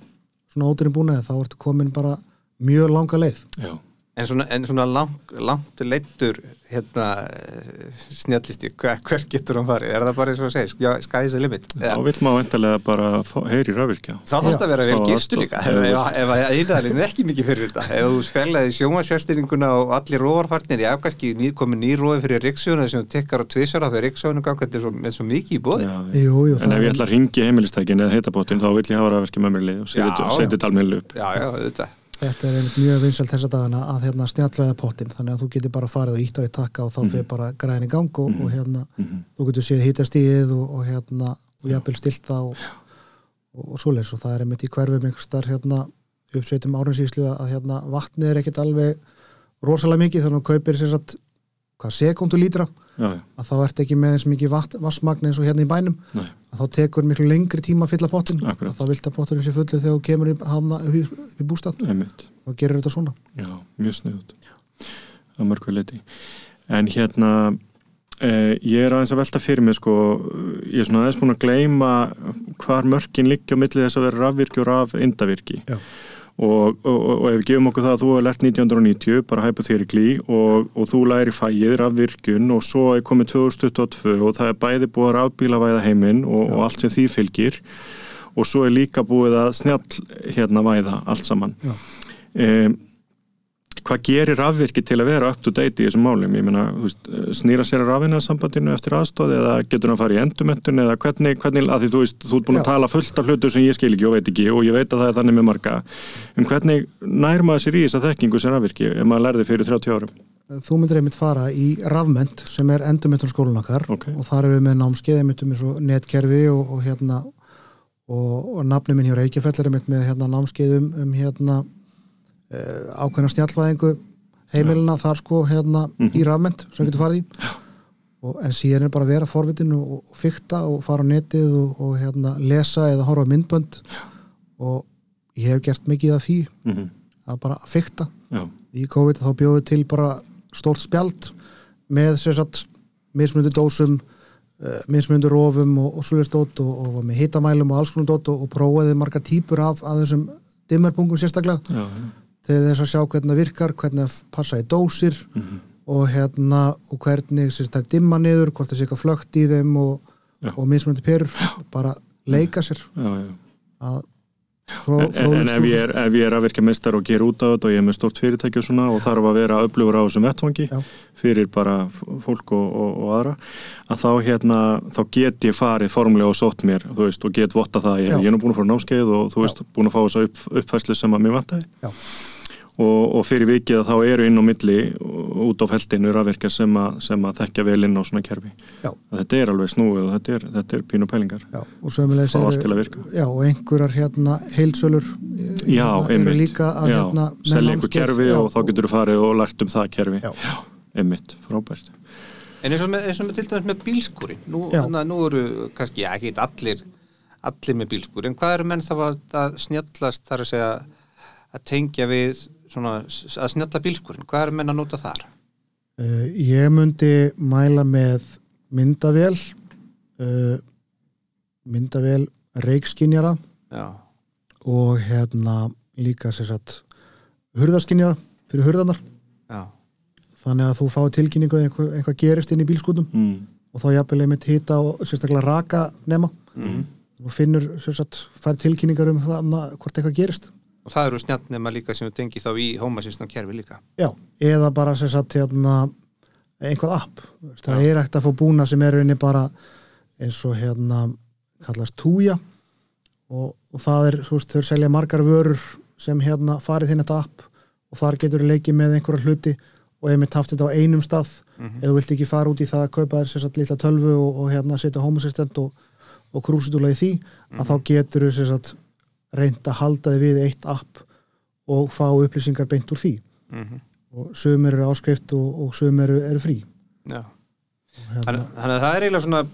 D: svona óterinn búnaði þá ertu komin bara mjög langa leið
A: já,
B: en svona, en svona langt, langt leittur hérna eh, snjallisti, hver, hver getur hann farið er það bara eins og að segja, skæðis að limit
A: þá
B: Eða-
A: vill maður væntalega bara fá- heyri rafvirkja
B: þá þarf það að vera vel
A: Já,
B: giftu
A: aðstoð.
B: líka ef ef- ef að einaðalinn er ekki mikið fyrir þetta ef þú sfellaði sjómasjörstýringuna og allir róvarfarnir, já kannski ný, komið nýrói fyrir ríksjónu sem þú tekkar á tvisara fyrir ríksjónu gangandi svo, með svo mikið í bóði
A: Já, já.
D: jú, jú,
A: en
D: það
A: ef ég
D: er-
A: ætla að ringi heimilistækin eða heitabótin þá vill ég hafa rafvirkja með mér í lið og
B: Já, já.
A: setja þetta almennileg upp
B: já, já, þetta
D: þetta er einmitt mjög vinsalt þessa dagana að hérna snjallvæða pottin þannig að þú getur bara farið og ítt á í takka og þá fyrir bara græðin í gang og, og hérna þú getur séð hýtastíð og, og hérna og jafnvel stilt það og, og, og svoleiðis og það er einmitt í hverfum einhvers þar hérna uppsveitum árinsýslu að hérna vatnið er ekkit alveg rosalega mikið þannig að þú kaupir sér satt hvað sekundu lítra
A: já, já,
D: að þá ert ekki með eins mikið vat, vassmagn eins og hérna í bænum
A: nei,
D: að þá tekur miklu lengri tíma að fylla pottin
A: Akkurat.
D: að þá vilt að pottinum sé fullu þegar þú kemur í, hana, upp, í, upp í bústað
A: einmitt
D: og gerir þetta svona
A: já, mjög sniðut að mörgu leiti en hérna eh, ég er aðeins að velta fyrir mig sko, ég er svona aðeins búin að gleyma hvar mörkin liggja á milli þess að vera rafvirkja og rafindavirki
D: Já.
A: og, og, og, og ef við gefum okkur það að þú hefur lært 1990 bara hypothetically og, og þú læri fæið rafvirkjun og svo er komið 2022 og það er bæði búið að rafbílavæða heiminn og, og allt sem því fylgir og svo er líka búið að snjall hérna væða allt saman
D: Já.
A: um, hvað gerir rafvirki til að vera up to date í þessum málum, ég meina þú veist, snýra sér að rafina sambandinu eftir aðstóð eða getur hann að fara í endumöntun eða hvernig, hvernig að því þú veist, þú ert búin að
D: Já.
A: tala fullt af hlutur sem ég skil ekki og veit ekki og ég veit að það er þannig með marga en hvernig nær maður sér í þessa þekkingu sem rafvirki ef maður lærði fyrir 30 árum
D: Þú myndir einmitt fara í rafmönd sem er endurmöntun skólan okkar
A: Ok.
D: og þar erum við með námskeið einmitt um eins og netkerfi og, og hérna og, og nafnum minn hjá Reykjafell er einmitt með hérna námskeið um, um hérna uh, ákveðna snjallvæðingu heimilina þar sko hérna í rafmönd sem getur farið í og, en síðan er bara að vera forvitin og, og fykta og fara á netið og, og hérna lesa eða horfa á myndbönd og ég hef gert mikið af því
A: mm
D: að bara fykta
A: Já,
D: í COVID þá bjóðu til bara stórt spjald með sem sagt mismunandi dósum eh, mismunandi rofum og, og svoleiðist dót og, og var með hitamælum og alls konar dót og, og prófaði margar típur af, af þessum dimmerpungum sérstaklega
A: já,
D: til þess að sjá hvernig það virkar, hvernig það passa í dósir
A: Mhm.
D: og hérna og hvernig sér það dimma niður, hvort það sé eitthvað flögt í þeim og,
A: Já.
D: og mismunandi perur bara leika sér
A: já, já.
D: að
A: En, en, en ef, ég er, ef ég er að virka mestar og gera út af þetta og ég er með stort fyrirtæki og svona og þarf að vera öflugur á þessum vettvangi
D: Já.
A: fyrir bara f- fólk og, og, og aðra að þá, hérna, þá get ég farið formlega og sótt mér þú veist, og get votta það, ég,
D: Já.
A: ég er nú búin að fara á námskeið og þú veist, búin að fá þessa upp, uppfæslu sem að mér vantaði
D: Já.
A: og, og fyrir vikið að þá eru inn á milli út á feltinu rafvirkja sem, að- sem að þekkja vel inn á svona kerfi
D: Já.
A: þetta er alveg snúið og þetta er, þetta er pínu pælingar
D: Já, og sömulegis
A: Fá allt til að virka.
D: já, og einhverjar hérna heilsölur eh,
A: Já,
D: eru
A: einmitt.
D: líka að
A: Já,
D: hérna með
A: selja einhver
D: námskeið,
A: kerfi
D: já,
A: og þá getur þú farið og lært um það kerfi
D: Já.
A: einmitt, frábært
B: En eins og með, eins og með til dæmis með bílskúri nú,
D: Já.
B: na, nú eru kannski, já, ekki allir allir með bílskúri, en hvað eru menn þá að, að snjallast þar að segja að tengja við svona, s- að snjalla bílskúrin, hvað eru menn að nota þar?
D: Eh, ég myndi mæla með myndavél uh, myndavél reikskinjara
B: Já,
D: og hérna líka sér satt hurðaskinjara fyrir hurðanar
B: já,
D: þannig að þú fá tilkynningu að einhver, einhvað gerist inn í bílskutum
A: mm.
D: og þá jafnvel einmitt hita og sérstaklega raka nema
B: Mhm.
D: og finnur sér satt fær tilkynningar um hana, hvort eitthvað gerist
B: og það eru snjallnema líka sem þú tengir þá í hómasýstum kerfi líka
D: Já, eða bara sem sagt hérna einhvað app, Þú veist, það er ekkert að fá búna sem er rauninni bara eins og hérna kallast túja og, og það er, þú veist, þau selja margar vörur sem hérna farið þinn þetta app og þar getur leikið með einhverja hluti og ef mitt haft þetta á einum stað
B: Mm. Mhm,
D: eða þú vilt ekki fara út í það að kaupa þér sem sagt litla tölvu og, og hérna setja homosistent og, og krúsitúla í því að þá getur þau sem sagt reynd að halda þið við eitt app og fá upplýsingar beint úr því
B: mm -hmm.
D: og sömur eru áskrift og, og sömur eru, eru frí
B: Já
D: Og hérna,
B: Þannig þannig að það er eiginlega svona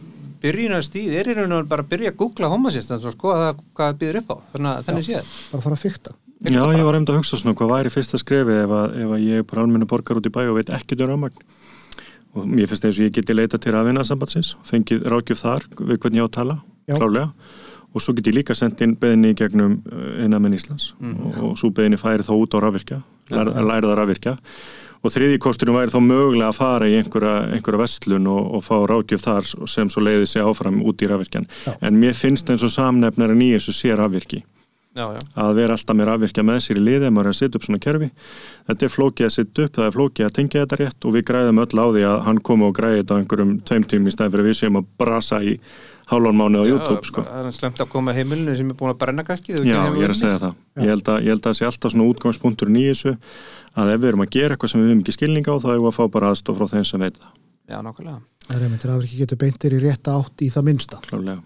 B: byrjunarstíð, er eiginlega bara að byrja að googla homasistans og skoða það hvað það býður upp á þannig, að þannig séð
D: bara fara að fykta
A: Já, ég var einmitt að hugsa svona hvað væri fyrsta skrefi ef að, ef að ég er bara almennu borgar út í bæ og veit ekki um rafmagn og mér finnst eins og ég geti leita til rafinasambatsins fengið rákjöf þar við hvernig ég á að tala
D: Já.
A: klálega og svo get ég líka sendt inn beðinni í gegnum innamenn Íslands og, og svo beðinni færi þá út á rafvirkja lær, læra það rafvirkja og þriði kosturinn væri þá mögulega að fara í einhverja, einhverja vestlun og, og fá rákjöf þar sem svo leiði sig áfram út í rafvirkjan
D: Já.
A: en mér finnst eins og samnefnarinn í þessu sé rafvirki
B: Já, já,
A: að vera alltaf með rafvirkja með sér í liði ef maður er að setja upp svona kerfi þetta er flókið að setja upp, það er flókið að tengja þetta rétt og við græðum öll á því að hann komi og græði þetta á einhverjum tveim tími í stæðan fyrir að við séum að brasa í hálfan mánu á YouTube sko.
B: Það er slemt að koma að heimilinu sem er búin að brenna kannski þú
A: Já,
B: kemur
A: ég er að
B: heimilinu.
A: segja það ég held að, ég held að það sé alltaf svona útgangspunktur í þessu að ef við erum að gera eitthvað sem við höfum ekki skilninga á þá erum við að fá bara aðstof frá þeim sem veit það
B: Já, nákvæmlega
D: það er einmitt rafriki getur beintir í rétta átt í það minnsta
A: klálega.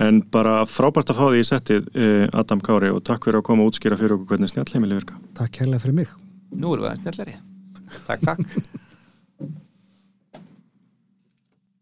A: En bara frábært að fá því í settið eh, Adam Kári og takk fyrir að koma og útskýra fyrir okkur hvernig snjallheimili virka.
D: takk kærlega fyrir mig
B: Nú erum við aðeins snjallari Takk, takk